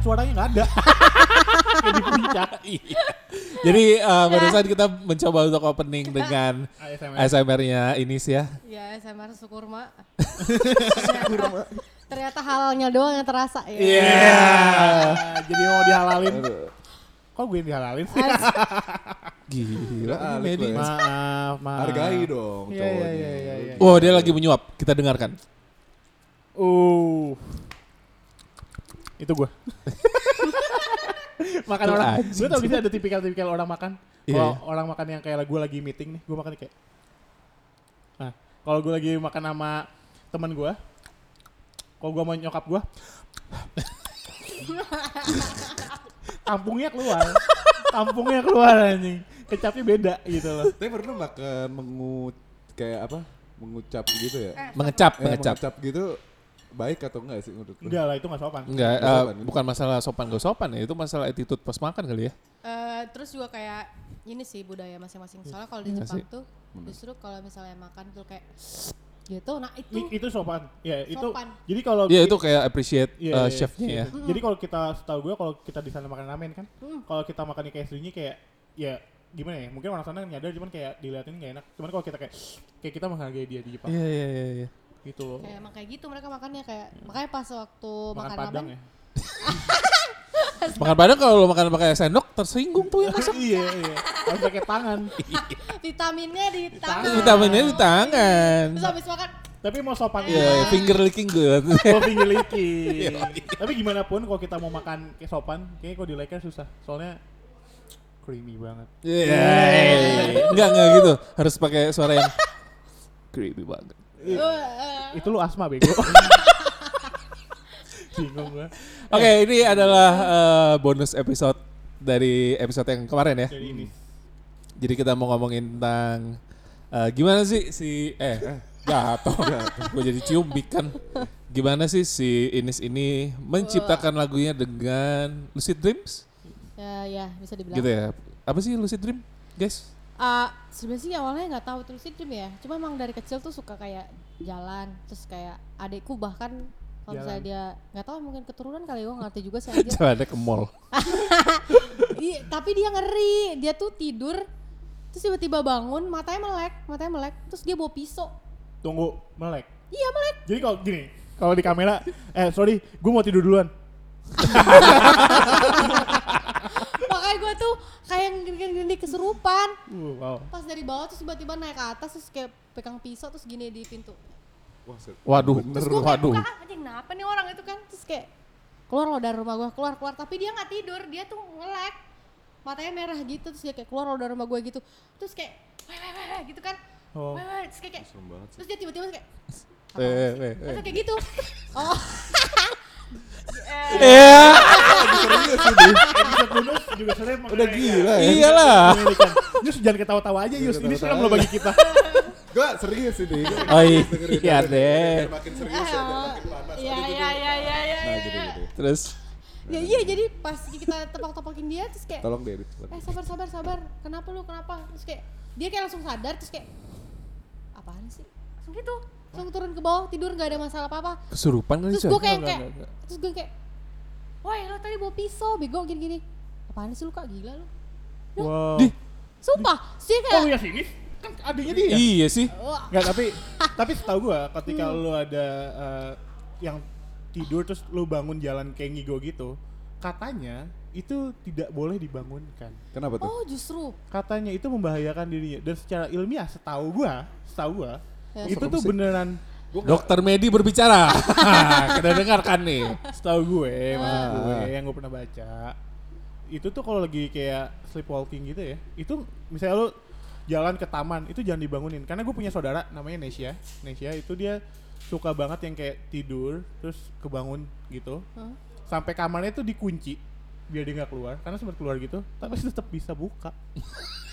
suaranya nggak ada. di puncak. Iya. Jadi eh, barusan kita mencoba untuk opening dengan ASMR. ASMR-nya Inis ya. Ya SMR Sukurma. Kurma. Ternyata halalnya doang yang terasa ya. Iya. Jadi mau dihalalin. Kok gue yang dihalalin sih? Gila, ini Ah, Alex, Medi. ya. Mas. maaf, maaf. Hargai dong Gitu. Iya, iya, cowoknya. iya, iya, iya. Wow, dia lagi menyuap. Kita dengarkan. Uh. Itu gue. makan Tuh orang. anjing. Gue tau gak sih ada tipikal-tipikal orang makan. Iya, Kalau iya. orang makan yang kayak gue lagi meeting nih, gue makan kayak. Nah, kalau gue lagi makan sama teman gue, kalau gue mau nyokap gue, tampungnya keluar, tampungnya keluar anjing, kecapnya beda gitu loh. Tapi pernah makan mengu kayak apa? Mengucap gitu ya? Mengecap, Eh, mengecap. mengucap gitu baik atau enggak sih menurut lu? Enggak lah itu gak sopan. Enggak, Nggak eh, sopan. bukan masalah sopan gak sopan ya, itu masalah attitude pas makan kali ya. Eh, terus juga kayak ini sih budaya masing-masing. Soalnya kalau di Iya Jepang sih. tuh justru kalau misalnya makan tuh kayak gitu. Nah I- itu itu sopan. Ya, itu. Sopan. Jadi kalau Iya itu kayak appreciate Oh, Iya, eh, iya, chefnya ya. chef. Jadi kalau kita setahu gue kalau kita di sana makan ramen kan, Hmm. kalau kita makan di KFC-nya kayak ya gimana ya? Mungkin orang sana nyadar cuman kayak diliatin gak enak. Cuman kalau kita kayak kayak kita menghargai dia di Jepang Iya, iya, iya. iya. gitu loh. kayak emang kayak gitu mereka makannya kayak makanya pas waktu makan, makan ramen Padang ya. Makan padahal kalau lo makan pakai sendok tersinggung tuh ya. yang masak. iya, iya. Harus pakai tangan. vitaminnya di tangan. Vitaminnya di tangan. Terus habis makan Tapi mau sopan Iya, iya. finger licking good. Iya. Mau pinggir licin. Tapi gimana pun kalau kita mau makan kayak sopan, kayaknya kalau di Lakers susah. Soalnya creamy banget. Iya. Enggak, enggak gitu. Harus pakai suara yang creepy banget. "Uh, uh, Itu lu asma bego. Bingung gue. Oke, ini adalah eh, bonus episode dari episode yang kemarin ya. Jadi ini. Jadi kita mau ngomongin tentang eh, gimana sih si eh jatuh. Gue jadi cium bikan. Gimana sih si Inis ini menciptakan lagunya dengan Lucid Dreams? ya, ya bisa dibilang. Gitu ya. Apa sih Lucid Dream, guys? Ah, sebenarnya sih awalnya nggak tahu terus dream ya. Cuma emang dari kecil tuh suka kayak jalan, terus kayak adikku bahkan kalau misalnya Jalan. dia nggak tahu mungkin keturunan kali gue ngerti juga sih aja. Jalannya ke mall. Iya, tapi dia ngeri, dia tuh tidur terus tiba-tiba bangun, matanya melek, matanya melek, terus dia bawa pisau. Tunggu, melek. Iya melek. Jadi kalau gini, kalau di kamera, eh sorry, gue mau tidur duluan. Makanya gue tuh kayak gini keserupan. Uh, wow. Pas dari bawah terus tiba-tiba naik ke atas terus kayak pegang pisau terus gini di pintu. Wah, set- Waduh, Bener Gue lu. kayak waduh. buka, "Ah, anjing kenapa nih orang itu kan terus kayak keluar lo dari rumah gue keluar keluar tapi dia nggak tidur dia tuh ngelek matanya merah gitu terus dia kayak keluar lo dari rumah gue gitu terus kayak weh weh weh weh," gitu kan Oh. weh weh terus kayak, kayak Serem banget sih. terus dia tiba-tiba kayak Eh, eh, eh, eh. terus kayak gitu oh Iya, Episode bonus juga sering Udah gila ya. iyalah. Yus jangan ketawa-tawa aja Yus, Jangan ini serem ketawa-tawa lo bagi aja. kita. Gua serius ini. Gua Oh iya, dengerin, iya dengerin. deh. Biar Makin serius ya, biar Eh. makin panas. iya Aduh, iya iya iya iya Nah, gitu gitu. Nah, Terus ya iya jadi pas kita tepok-tepokin dia terus kayak Tolong deh. Dit. eh sabar sabar sabar kenapa lu kenapa terus kayak dia kayak langsung sadar terus kayak apaan sih langsung gitu langsung turun ke bawah tidur nggak ada masalah apa apa kesurupan kali terus coy. gue kayak Enggak, kayak enggak, terus gue kayak woi lo tadi bawa pisau bego gini gini apaan sih lu kak gila lu Wow. Dih. sumpah sih Oh ya kayak sini kan adanya dia. Iya sih. Wah, Enggak, tapi tapi setahu gue ketika lo ada eh, yang tidur terus lo bangun jalan kayak ngigo gitu, katanya itu tidak boleh dibangunkan. Kenapa tuh? oh justru katanya itu membahayakan dirinya dan secara ilmiah setahu gua setahu gua Ya. itu Serem tuh sih. beneran Dokter Medi berbicara. Nah, Kita dengarkan nih. setahu gue Ah. maksud gue yang gue pernah baca itu tuh kalau lagi kayak sleepwalking gitu ya itu misalnya lo jalan ke taman itu jangan dibangunin karena gue punya saudara namanya Nesya Nesya itu dia suka banget yang kayak tidur terus kebangun gitu Hah? sampai kamarnya tuh dikunci biar dia nggak keluar karena sempat keluar gitu tapi tetap bisa buka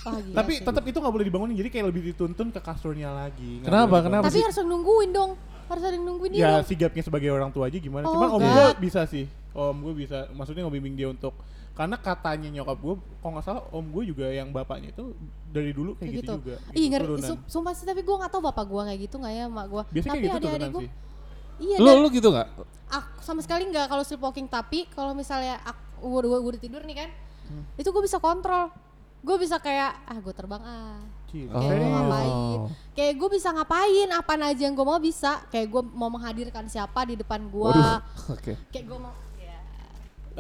wah Iya gila tapi sih. tetap itu nggak boleh dibangunin jadi kayak lebih dituntun ke kasurnya lagi nggak Kenapa? boleh Kenapa dibangunin. tapi harus yang nungguin dong harus ada yang nungguin dia ya dong. sigapnya sebagai orang tua aja gimana Iya, Oh, cuman om enggak. gue bisa sih om gue bisa maksudnya ngebimbing dia untuk karena katanya nyokap gue kalau nggak salah om gue juga yang bapaknya itu dari dulu kayak gitu, juga Ih, gitu, ngeri, turunan. su- sumpah sih tapi gue gak tau bapak gue kayak gitu gak ya emak gue biasanya Tapi kayak gitu adik-adik turunan gue sih Iya, Lu dan lu gitu nggak? aku sama sekali nggak kalau sleepwalking tapi kalau misalnya aku gue udah, tidur nih kan Hmm. itu gue bisa kontrol gue bisa kayak ah gue terbang ah Gila. Oh. kayak gue mau ngapain Oh. kayak gue bisa ngapain apa aja yang gue mau bisa kayak gue mau menghadirkan siapa di depan gue Waduh. Oke. kayak gue mau ya.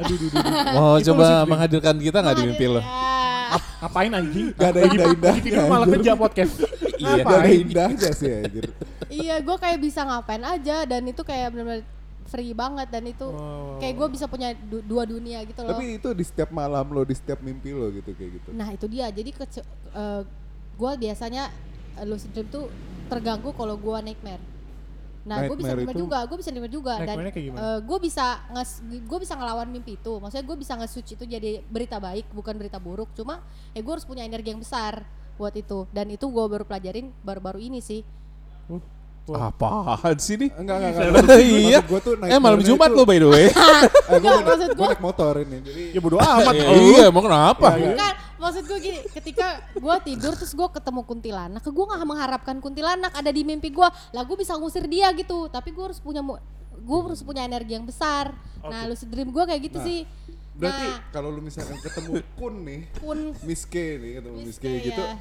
Aduh, aduh, aduh, aduh. Mau Nah, Itu coba lucid dream. menghadirkan kita nggak di mimpi Menghadir- lo? Ya. Ngapain anjing? Gak ada Lagi- indah-indahnya, lagi tidur malah anjir. kerja podcast. Iya. Gak ada Ngapain? indahnya sih anjir. iya gue kayak bisa ngapain aja dan itu kayak benar-benar free banget dan itu Oh. kayak gue bisa punya du- dua dunia gitu loh Tapi itu di setiap malam lo, di setiap mimpi lo gitu kayak gitu. nah itu dia jadi kece- eh, gue biasanya eh, lucid dream tuh terganggu kalau gue nightmare nah gue bisa Nightmare nightmare itu- juga gue bisa nightmare juga dan Nightmare-nya kayak gimana? gue Eh, bisa nges gue bisa ngelawan mimpi itu maksudnya gue bisa nge-switch itu jadi berita baik bukan berita buruk cuma eh gue harus punya energi yang besar buat itu dan itu gue baru pelajarin baru-baru ini sih Uh, wah. Apaan sih nih? Enggak, enggak, enggak. Maksud Iya. gua tuh Eh malam nightmare-nya Jumat itu- lo Iya. by the way. Eh, gue Enggak, maksud gue gua- Nah. naik motor ini. Jadi Ya bodo amat. Iya, Oh, Iya, emang kenapa? Bukan, kan, maksud gue gini, ketika gue tidur terus gue ketemu kuntilanak, gue gak mengharapkan kuntilanak ada di mimpi gue, lah gue bisa ngusir dia gitu, tapi gue harus punya gue harus punya energi yang besar. Nah, lucid dream gue kayak gitu Nah, sih. berarti nah, kalau lu misalkan ketemu kun nih, pun Miss K nih ketemu Miss K gitu. ya.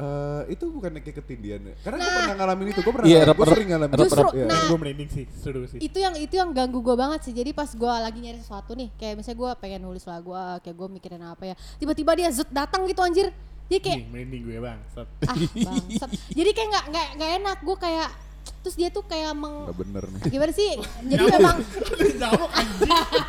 eh, itu bukan kayak ketindian ya. Karena gue Nah, pernah ngalamin itu, gue pernah Iya, ngalamin, gua rep- sering ngalamin. rep- Justru, Iya. nah gue merinding sih, seru sih. Gitu. itu yang itu yang ganggu gue banget sih. Jadi pas gue lagi nyari sesuatu nih, kayak misalnya gue pengen nulis lah gue, kayak gue mikirin apa ya, tiba-tiba dia zut datang gitu anjir. Dia kayak Iya. Ih, merinding gue bang. Set. ah bangsat. Jadi kayak nggak nggak nggak enak gue kayak terus dia tuh kayak meng Nggak bener nih. gimana sih jadi memang Jauh anjing.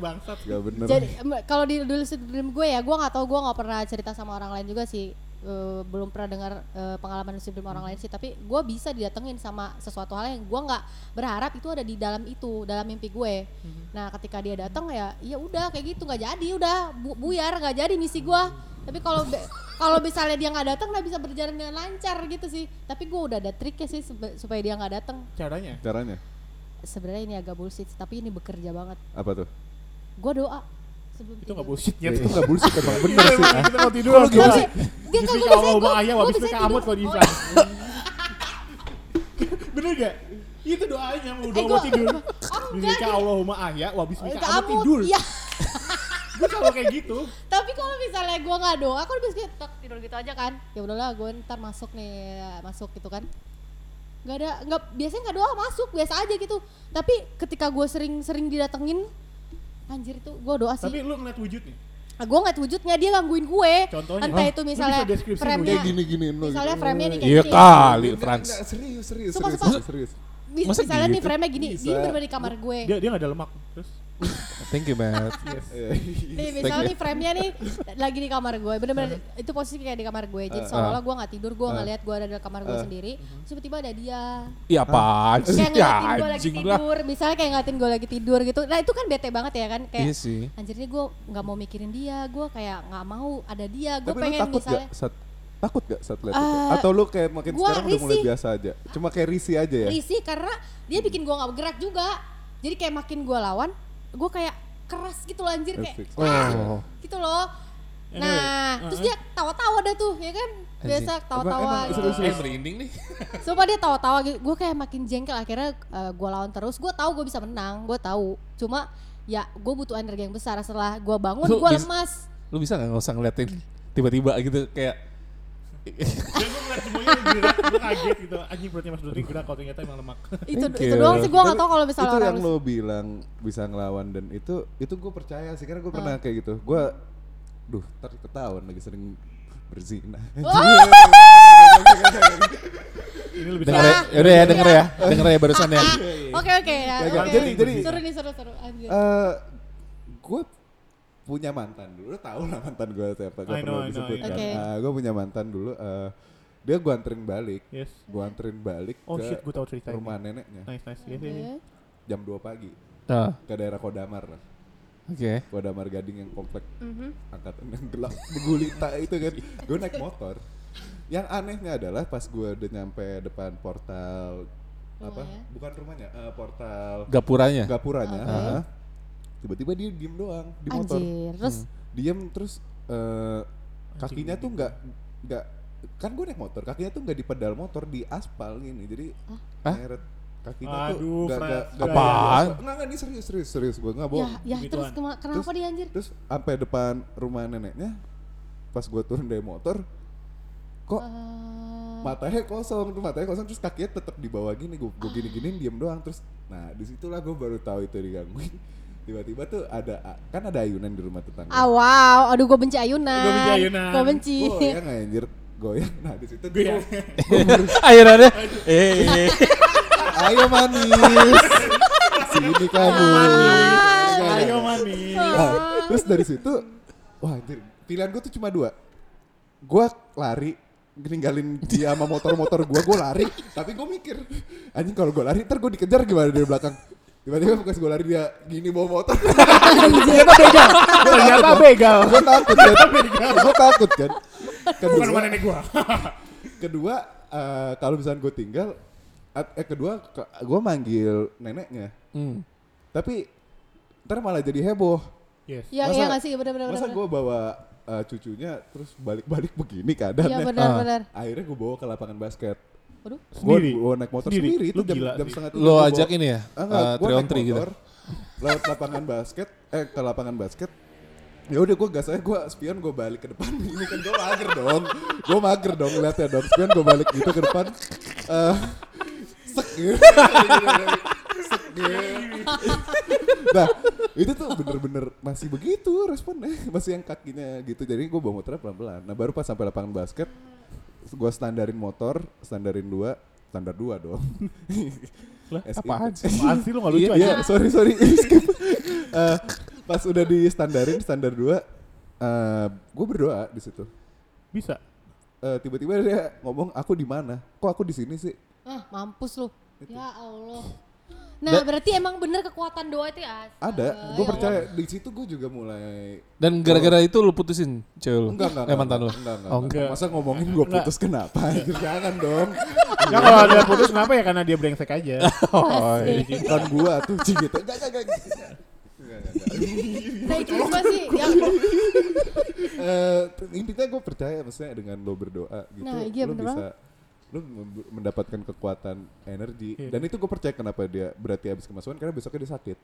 Bangsat. Gak bener. jadi em, kalau di dulu dream gue ya gue nggak tahu gue nggak pernah cerita sama orang lain juga sih Eh, belum pernah dengar eh, pengalaman lucid dream orang lain sih tapi gue bisa didatengin sama sesuatu hal yang gue nggak berharap itu ada di dalam itu dalam mimpi gue Mhm. nah ketika dia datang ya ya udah kayak gitu nggak jadi udah bu- buyar nggak jadi misi gue tapi kalau be- kalau misalnya dia nggak datang nah bisa berjalan dengan lancar gitu sih tapi gue udah ada triknya sih sebe- supaya dia nggak datang Caranya? Caranya sebenarnya ini agak bullshit sih, tapi ini bekerja banget apa tuh? Nah, gue doa sebelum Itu nggak tidur. bullshit Ya, Iya. nyet. itu gak bullshit emang bener sih. Iya, Kita mau tidur. Kalau gimana gua- sih? Dia kan Bismika gua Allah, biasanya Bang gua- Ayah, gua habis itu biasanya kamut tidur. kalau Oh, diislam. Bener gak? Itu doanya mau doa mau gua- tidur. Oh, enggak, Bismika Allahumma ahya wa bismika Kamu amut tidur. Iya. Gue kalau kayak gitu. Tapi kalau misalnya gua nggak doa, kan biasanya tek, tidur gitu aja kan. Ya udahlah, gua ntar masuk nih, masuk gitu kan. Gak ada, nggak biasanya nggak doa masuk, biasa aja gitu. Tapi ketika gua sering-sering didatengin, anjir itu gua doa Tapi sih. lu ngeliat wujudnya. Nah, gua ngeliat wujudnya dia gangguin gue. Contohnya? entah Hah? itu Lu bisa misalnya deskripsi Kayak Iya. frame-nya, gini-giniin lo misalnya frame-nya nih kayak Iya gini. kan. kali, Franz. Enggak, serius, serius, Sumpah, serius, sumpah. serius. Mis- Masa misalnya nih gitu? frame-nya gini, Bisa. dia bener di kamar gue. Dia dia nggak ada lemak. Terus Thank you, Matt. Iya. Nih ya. misalnya nih frame-nya nih lagi di kamar gue, bener-bener itu posisi kayak di kamar gue. Jadi seolah-olah gue nggak tidur, gue ngeliat gue ada di kamar gue sendiri. Terus tiba-tiba ada dia, Iya apaan sih? Mhm. Ya kayak ngeliatin gue lagi anjing lah. tidur. Misalnya kayak ngeliatin gue lagi tidur gitu. Nah itu kan bete banget ya kan, kayak Iya sih. anjir nih gue nggak mau mikirin dia, gue kayak nggak mau ada dia, gue Tapi lu pengen takut gak? misalnya Saat, takut gak saat lihat itu? Eh, Atau lu kayak makin gua sekarang udah mulai risih. biasa aja? Cuma kayak risih aja ya? risih karena dia bikin gue nggak bergerak juga. Jadi kayak makin gue lawan, gue kayak keras gitu loh anjir kayak Efek. Oh. gitu loh. Anyway, Nah, terus dia tawa-tawa dah tuh, ya kan? Biasa tawa-tawa. emang gitu. serius, serius. Eh, merinding nih. Sumpah dia tawa-tawa gitu. Gue kayak makin jengkel akhirnya gue lawan terus. Gue tahu gue bisa menang, gue tahu. Cuma ya gue butuh energi yang besar setelah gue bangun Lu gue bis- lemas. Lu bisa nggak nggak usah ngeliatin tiba-tiba gitu kayak dia gue ngeliat semuanya gerak, gue kaget gitu. Anjing perutnya Mas Dodi gerak kalau ternyata emang lemak. Itu Thank itu you. doang sih gue nggak Tapi tahu kalau misalnya itu orang yang lo bilang bisa ngelawan dan itu itu gue percaya sih karena gue Ah. pernah kayak gitu gue duh ntar ketahuan lagi sering berzina Ini lebih denger ya, yaudah ya denger ya, denger ya barusan ya. Oke oke ya. Gak, gak, oke. jadi- jadi- Seru nih seru seru. Anjir. Eh, gue punya mantan dulu lo tau lah mantan gue siapa gue I know, pernah I know, disebutkan I know. gue punya mantan dulu eh, dia gue anterin balik Yes. gue anterin balik Oh ke shit, gue tahu cerita rumah ini. neneknya Nice nice. Yes, Oke. yes, yes. jam 2 pagi Ah, ke daerah Kodamar lah Oke. Kodamar Gading yang komplek Mhm. angkatan yang gelap begulita itu kan gue naik motor yang anehnya adalah pas gue udah nyampe depan portal apa Rumahnya. bukan rumahnya eh, portal Gapuranya. gapuranya Oke. heeh. tiba-tiba dia diem doang di motor Anjir. Terus diem terus eh, kakinya tuh nggak nggak kan gue naik motor kakinya tuh nggak di pedal motor di aspal gini jadi Hah? nyeret kakinya Aduh, tuh Fred. nggak- Apaan? nggak nggak ini serius serius serius gue nggak Ya, bohong ya Begituan. terus kema- kenapa dia anjir? terus sampai depan rumah neneknya pas gue turun dari motor kok Eh, matanya kosong tuh matanya kosong terus kakinya tetap di bawah gini gue gini giniin diem doang terus nah disitulah gue baru tahu itu digangguin tiba-tiba tuh ada kan ada ayunan di rumah tetangga ah wow, aduh gue benci ayunan. Gua benci ya ayunan. Gua benci. kan? goyang anjir goyang nah di situ Gue ya. Akhirnya, eh, ayo manis sini kamu Ayo manis. Nah, terus dari situ wah anjir pilihan gue tuh cuma dua gue lari ninggalin dia sama motor-motor gue gue lari tapi gue mikir anjing kalau gue lari ntar gue dikejar gimana dari belakang tiba-tiba bekas gue lari dia gini bawa motor Iya, Ternyata begal. Ternyata begal. gue takut kan gue takut kan kedua Bukan rumah nenek gua. kedua eh, kalau misalnya gue tinggal at- eh kedua gue manggil neneknya hmm. tapi ntar malah jadi heboh Yes. Ya, Masa- iya nggak sih benar-benar. masa gue bawa eh, cucunya terus balik-balik begini Iya keadaannya Ah. benar-benar. akhirnya gue bawa ke lapangan basket Waduh. gue Sendiri? gue naik motor Sendiri? sendiri, itu Lu jam, gila jam sih. setengah tiga Lo gua bawa- ajak ini ya? Ah, enggak, Eh, gua three on naik three gitu. motor, lewat lapangan basket eh ke lapangan basket ya udah gue gas aja gue spion gue balik ke depan ini kan gue mager dong gue mager dong lihat ya dong spion gue balik gitu ke depan eh sek gitu. Sek gitu. nah itu tuh bener-bener masih begitu responnya masih yang kakinya gitu jadi gue bawa motornya pelan-pelan nah baru pas sampai lapangan basket gue standarin motor standarin dua standar dua dong Lah, SM. apaan sih? Apaan sih lu nggak lucu Iya, aja? Iya, sorry sorry skip. Eh, pas udah di standarin standar 2 eh gue berdoa di situ. Bisa. Eh, tiba-tiba dia ngomong aku di mana? Kok aku di sini sih? Ah, mampus lu. Ya Allah. Da- Nah, berarti emang bener kekuatan doa itu ya. Ada, gue percaya di situ gue juga mulai Dan gara-gara itu lu putusin cewek lu? enggak enggak. eh, mantan lu? enggak, enggak, enggak, Oh, enggak. enggak. Masa ngomongin gue Enggak. putus kenapa? Anjir, Jangan dong. Ya kalau ada putus kenapa ya karena dia brengsek aja. Bukan gua tuh cing gitu. Enggak enggak enggak. Enggak, enggak, enggak. Nah, itu juga sih. yang- Eh, intinya gue percaya maksudnya dengan lo berdoa gitu Nah, iya lo bener bisa lo mem- mendapatkan kekuatan energi Iya. dan itu gue percaya kenapa dia berarti habis kemasukan karena besoknya dia sakit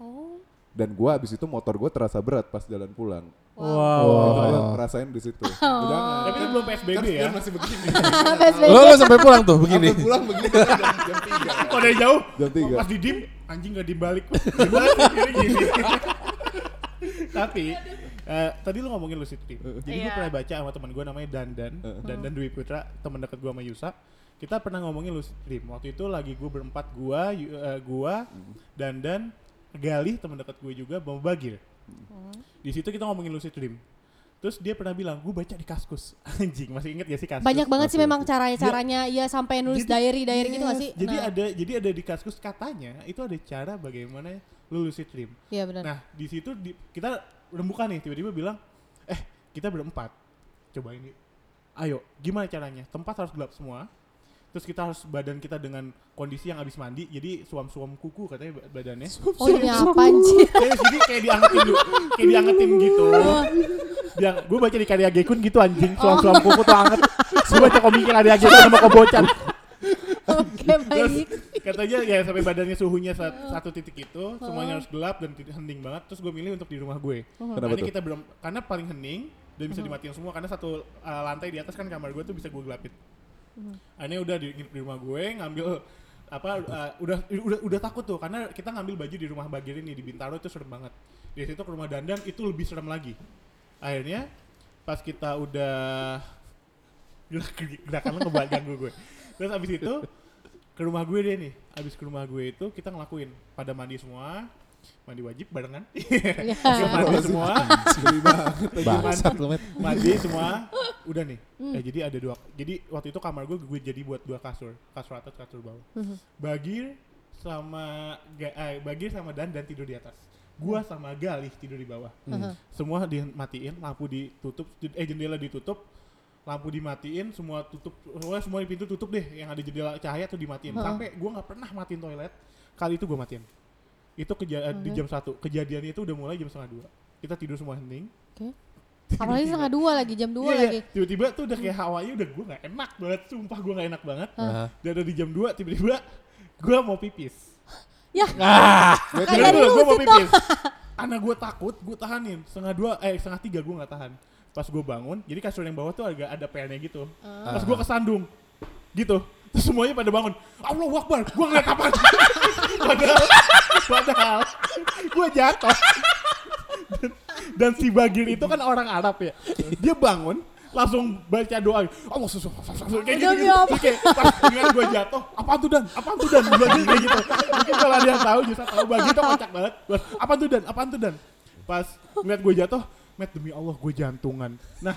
Oh. dan gue habis itu motor gue terasa berat pas jalan pulang Wow. Itu gua ngerasain di situ Oh. Jangan. Oh. Tapi itu belum PSBB Kan ya. dia masih begini Lo, lo sampai pulang tuh begini. Sampai pulang begini jam, jam tiga. Kok dari jauh? Jam tiga. Pas didim, anjing gak dibalik. Gimana sih? Jadi gini. Tapi eh, tadi lu ngomongin lucid dream. Jadi gue Iya. pernah baca sama teman gue namanya Dandan, Dandan Dwi Putra, teman dekat gue sama Yusa. Kita pernah ngomongin lucid dream. Waktu itu lagi gue berempat gue, gua, Mm-hmm. Dandan, Galih teman dekat gue juga, Bang Bagir. Di situ kita ngomongin lucid dream. Terus dia pernah bilang, gue baca di kaskus. Anjing, masih inget gak sih kaskus? Banyak banget sih memang caranya-caranya ya sampai nulis Jadi- diary diary gitu gak Yes, sih? Jadi Nah, ada jadi ada di kaskus katanya itu ada cara bagaimana lu lucid dream. Iya benar. Nah, di situ di- kita rembukan nih tiba-tiba bilang, "Eh, kita berempat. Coba ini. Ayo, gimana caranya? Tempat harus gelap semua. Terus kita harus badan kita dengan kondisi yang habis mandi. Jadi suam-suam kuku katanya ba- badannya. Oh ini apa anjir? Kayak jadi kayak diangetin dulu, kayak diangetin gitu. Dia, gue baca di karya Gekun gitu anjing, suam-suam kuku tuh anget. Gue baca komiknya karya Gekun sama kobocan. Oke baik. Terus katanya ya sampai badannya suhunya sa- satu titik itu semuanya harus gelap dan tid- hening banget. Terus gue milih untuk di rumah gue. Kenapa Karena tuh? kita belum karena paling hening dan bisa dimatiin semua karena satu uh, lantai di atas kan kamar gue tuh bisa gue gelapin. Akhirnya udah di, di rumah gue ngambil apa uh, udah udah udah takut tuh karena kita ngambil baju di rumah Bagir ini di Bintaro itu serem banget. Di situ ke rumah Dandan itu lebih serem lagi. Akhirnya pas kita udah gerak gerakan lo ngebuat ganggu gue terus abis itu ke rumah gue deh nih abis ke rumah gue itu kita ngelakuin pada mandi semua mandi wajib barengan Kita mandi semua Geli Iya. banget. Bangsat lu, Met. mandi semua udah nih Eh, jadi ada dua jadi waktu itu kamar gue gue jadi buat dua kasur kasur atas kasur bawah bagir sama Ga- eh, bagir sama dan dan tidur di atas gua sama galih tidur di bawah semua dimatiin lampu ditutup eh jendela ditutup lampu dimatiin semua tutup semua semua di pintu tutup deh yang ada jendela cahaya tuh dimatiin sampai gua nggak pernah matiin toilet kali itu gua matiin itu keja- di jam satu kejadiannya itu udah mulai jam setengah dua kita tidur semua hening Oke. Apalagi setengah dua lagi jam dua Iya, iya. lagi. Tiba-tiba tuh Ah. Nah, udah kayak hawanya udah gue gak enak banget, sumpah gue gak enak banget. Hah. Dan udah di jam 2 tiba-tiba gue mau pipis. Ya, Gue Kayak dari gue mau Lucy pipis. Karena gue takut, gue tahanin. Setengah dua, eh setengah tiga gue nggak tahan. Pas gue bangun, jadi kasur yang bawah tuh agak ada pelnya gitu. Ah. Pas gue kesandung, gitu. Terus semuanya pada bangun. Allah wakbar, gue ngeliat apa? padahal, padahal gue jatuh. Dan, dan si Bagir itu kan orang Arab ya. Dia bangun, langsung baca doa. Allah susu, kayak gitu. Demi apa? Dia kayak pas dengar gue jatuh, apaan tuh Dan? Apaan tuh Dan? Gue gitu kayak gitu. Mungkin kalau ada yang tahu justru tahu bagi itu kocak banget. Gua, apaan tuh Dan? Apaan tuh Dan? Pas ngeliat gue jatuh, Matt demi Allah gue jantungan. Nah,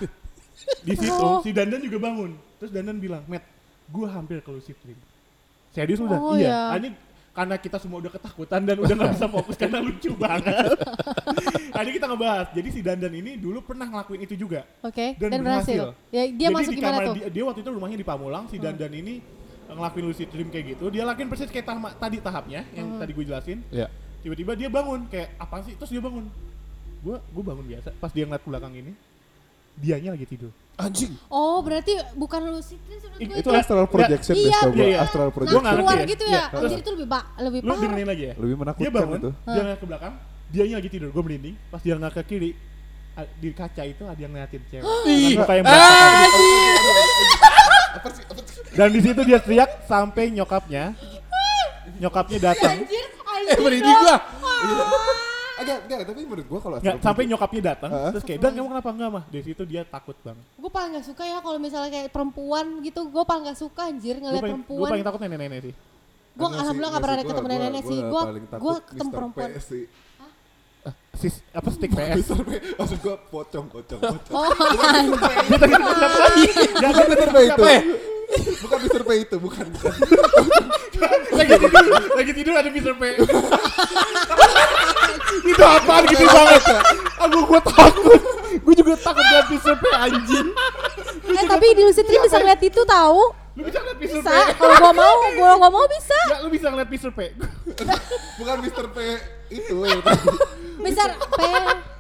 di situ Oh. si Dandan juga bangun. Terus Dandan bilang, Matt, gue hampir ke lucid dream. Serius udah? Oh, iya. iya. Ah, Ini karena kita semua udah ketakutan dan udah nggak bisa fokus karena lucu banget. Tadi kita ngebahas. Jadi si Dandan ini dulu pernah ngelakuin itu juga. oke. Dan Dan, berhasil. berhasil. Ya, dia Jadi masuk di gimana kamar tuh? Hmm. Dia, dia waktu itu rumahnya di Pamulang, si Dandan ini ngelakuin lucid dream kayak gitu. Dia lakuin persis kayak tahma- tadi tahapnya yang Hmm. tadi gue jelasin. Ya. Iya. Tiba-tiba dia bangun kayak apa sih? Terus dia bangun. Gua gua bangun biasa. Pas dia ngeliat ke belakang ini, dianya lagi tidur. Anjing. Oh, berarti bukan lucid dream menurut Ih, gue Itu itu. astral projection deh Iya, tau gue. iya, iya. Astral Gua Nah, nggak projection. ngerti keluar ya. gitu Iya, ya. terus- Anjir itu lebih ba- lebih Lu parah. dengerin lagi ya. Lebih Dia menakutkan bangun, itu. dia ngeliat ke belakang, dianya lagi tidur. Gue merinding. Pas dia ngeliat ke kiri, a- di kaca itu ada yang ngeliatin cewek. Dengan muka yang berantakan. Dan di situ dia teriak sampai nyokapnya nyokapnya datang. Anjir, Eh, anjir. merinding lah. Agak, enggak, tapi menurut gue kalau Nggak, astral sampai nyokapnya datang Heeh. terus kayak dan kamu kenapa enggak mah dari situ dia takut bang Gue paling gak suka ya kalau misalnya kayak perempuan gitu. Gue paling gak suka anjir gue ngeliat paling, gua perempuan. paling takut nenek-nenek sih Gue Enggak sih, alhamdulillah gak enggak pernah sih, ketemu gua- nenek-nenek gua- sih. gua Gue paling gue takut ketemu Mr. perempuan. P sih. sis apa stick PS Mr. P, maksud gue pocong, pocong, pocong. Oh, anjir. Bukan Mr. P itu. ya? Bukan Mr. P itu, bukan. bukan. lagi tidur lagi tidur ada Mr. P itu apaan gitu banget aku gue takut gue juga takut lihat Mr. P anjing Eh, tapi di lucid dream bisa ngeliat itu tahu? lu bisa ngeliat Mr. P Bisa. Kalau gue mau, gue gak mau bisa. Nggak, lu bisa ngeliat Mr. P Bukan Mr. P itu. yang tadi. Misal P Eh.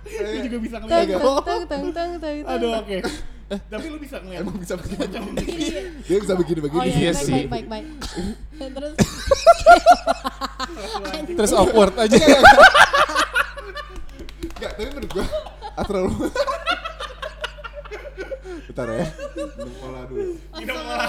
lu juga bisa teng ngeliat Enggak. teng teng teng teng teng. Iya, aduh oke tapi lu bisa ngeliat Eh. Emang bisa begini. Dia bisa begini-begini. Oh iya, Iya baik, sih. baik, baik, baik. Terus Terus awkward aja. Iya, Enggak, tapi menurut gua astral Bentar ya. Minum Cola dulu. minum kola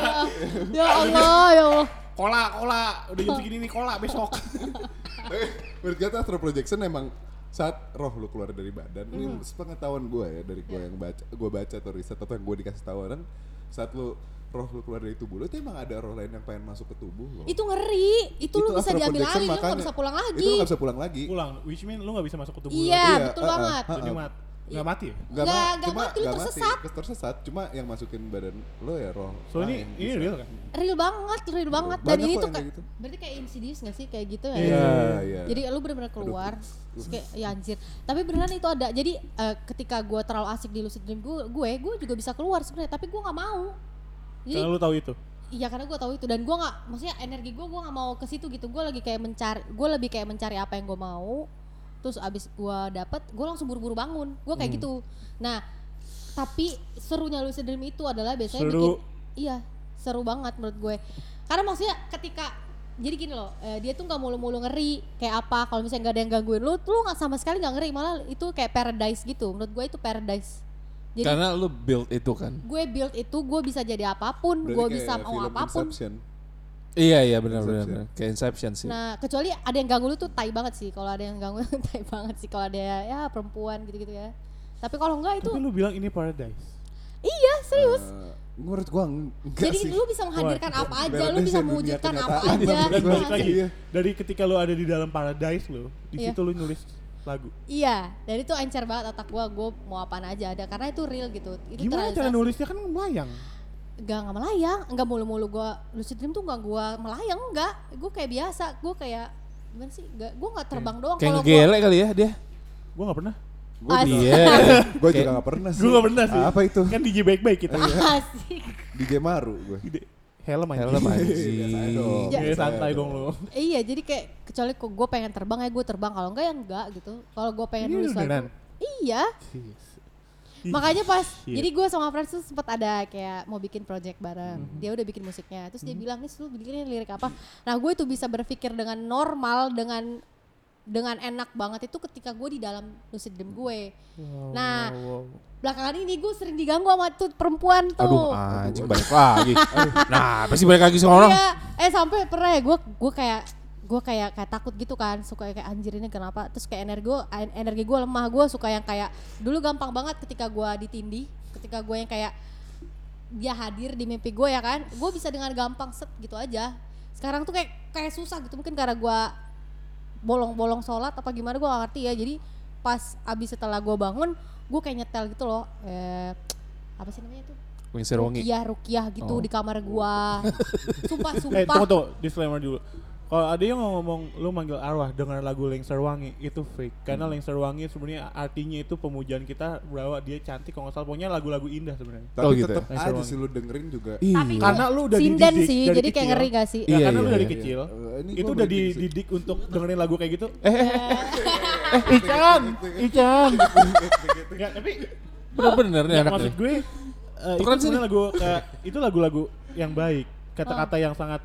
ya Allah, ya Allah. kola kola udah jam segini nih kola besok Tapi Eh, menurut gua tuh astral projection emang saat roh lu keluar dari badan ini sepengetahuan gua ya dari Iya. gua yang baca gua baca atau riset atau yang gua dikasih tahu orang saat lu roh lu keluar dari tubuh lu itu emang ada roh lain yang pengen masuk ke tubuh lo Itu ngeri. Itu, lu bisa astral diambil projection alih, lu gak makanya. bisa pulang itu lagi. lu gak bisa pulang lagi pulang which mean lu nggak bisa masuk ke tubuh lu Iya, Iya, betul uh-uh. banget. Ha. Itu cuma nggak mati. ya? Nggak- ma- nggak mati, lu nggak tersesat. tersesat cuma yang masukin badan lo ya roh So ini lain ini bisa. real kan? Real banget, real banget. Dan Banyak ini kok tuh kayak yang kayak gitu. berarti kayak insidious gak sih kayak gitu ya? Iya, iya. Jadi lu bener-bener keluar, terus kayak ya anjir. Tapi beneran itu ada. Jadi eh, ketika gue terlalu asik di lucid dream gue, gue, gue juga bisa keluar sebenarnya. Tapi gue nggak mau. Jadi Karena lu tahu itu. Iya karena gue tahu itu dan gue nggak, maksudnya energi gue gue nggak mau ke situ gitu. Gue lagi kayak mencari, gue lebih kayak mencari apa yang gue mau. Terus abis gue dapet, gue langsung buru-buru bangun. Gue kayak Hmm. gitu. Nah, tapi serunya lucid dream itu adalah biasanya bikin, Seru. iya seru banget menurut gue. Karena maksudnya ketika jadi gini loh, eh, dia tuh nggak mulu-mulu ngeri kayak apa. Kalau misalnya nggak ada yang gangguin lu, tuh lu nggak sama sekali nggak ngeri. Malah itu kayak paradise gitu. Menurut gue itu paradise. Jadi Karena lu build itu kan. gue build itu gue bisa jadi apapun, Berarti gue kayak bisa mau film apapun. Inception. Iya iya benar benar. Inception. benar. Kayak Inception sih. Nah, kecuali ada yang ganggu lu tuh tai banget sih. Kalau ada yang ganggu tai banget sih kalau ada ya perempuan gitu-gitu ya. Tapi kalau enggak itu Tapi lu bilang ini paradise. iya serius. Eh, menurut gua eng- Eh, enggak Jadi sih lu bisa menghadirkan apa aja, lu Paradise bisa yang dunia mewujudkan apa kenyataan. aja. Dan Iya. balik lagi, Iya. dari ketika lu ada di dalam paradise lu, di Iya. situ lu nulis lagu. Iya, dan itu encer banget otak gua, gua mau apaan aja ada karena itu real gitu. Itu Gimana cara terrealisasi. nulisnya kan melayang. Enggak, enggak melayang, enggak mulu-mulu gua lucid dream tuh enggak gua melayang enggak. Gua kayak biasa, gua kayak gimana sih? Enggak, gua enggak terbang doang Kayak kalau gua ngegelek kali ya dia. Gua nggak pernah. gua Asik. juga, Iya. gua juga gak pernah sih Gua nggak pernah sih. apa itu Kan DJ baik-baik kita. asik. DJ Maru gua Gede. Helm aja. Iya, Helm anjing. Biasa dong. Ya, Biasa santai dong dong. lu. Iya, jadi kayak kecuali kok gue pengen terbang ya gue terbang, kalau enggak ya enggak gitu. Kalau gue pengen Ini nulis lagu, beneran? iya. Jeez. Makanya pas, Shit. jadi gue sama Frans tuh sempat ada kayak mau bikin project bareng. Dia udah bikin musiknya. Terus dia bilang, nih lu bikinnya lirik apa? Nah gue itu bisa berpikir dengan normal, dengan dengan enak banget itu ketika gue di dalam lucid dream gue. nah belakangan ini gue sering diganggu sama tuh perempuan Aduh, tuh. anjing balik lagi. nah, pasti balik lagi sama orang. Iya, eh sampai pernah ya gue gue kayak gue kayak kayak takut gitu kan suka kayak anjir ini kenapa terus kayak energi gue energi gue lemah gue suka yang kayak dulu gampang banget ketika gue ditindih ketika gue yang kayak dia hadir di mimpi gue ya kan gue bisa dengan gampang set gitu aja sekarang tuh kayak kayak susah gitu mungkin karena gue bolong-bolong sholat apa gimana gue gak ngerti ya jadi pas abis setelah gue bangun gue kayak nyetel gitu loh eh, apa sih namanya tuh Wingsir wangi. rukiah rukiah gitu Oh. di kamar gua sumpah Eh sumpah tunggu tunggu, disclaimer dulu. Kalau ada yang ngomong lu manggil arwah dengan lagu Lengser Wangi itu fake karena Lengser Wangi sebenarnya artinya itu pemujaan kita bahwa dia cantik kalau nggak salah pokoknya lagu-lagu indah sebenarnya. Tapi Oh, gitu tetep ya? aja sih lu dengerin juga. tapi Iya. gua Karena lu udah sinden dididik sih dari jadi kayak kecil. ngeri gak sih Ya, Iya, karena lu iya, dari iya. kecil Eh, ini itu gua udah merinding sih. dididik untuk dengerin lagu kayak gitu. Eh, eh, eh, eh, Ican, Ican. Enggak, tapi Bener-bener nih anak maksud nih. gue eh, itu ya? Tukeran sini. sebenarnya lagu eh, itu lagu-lagu yang baik kata-kata yang sangat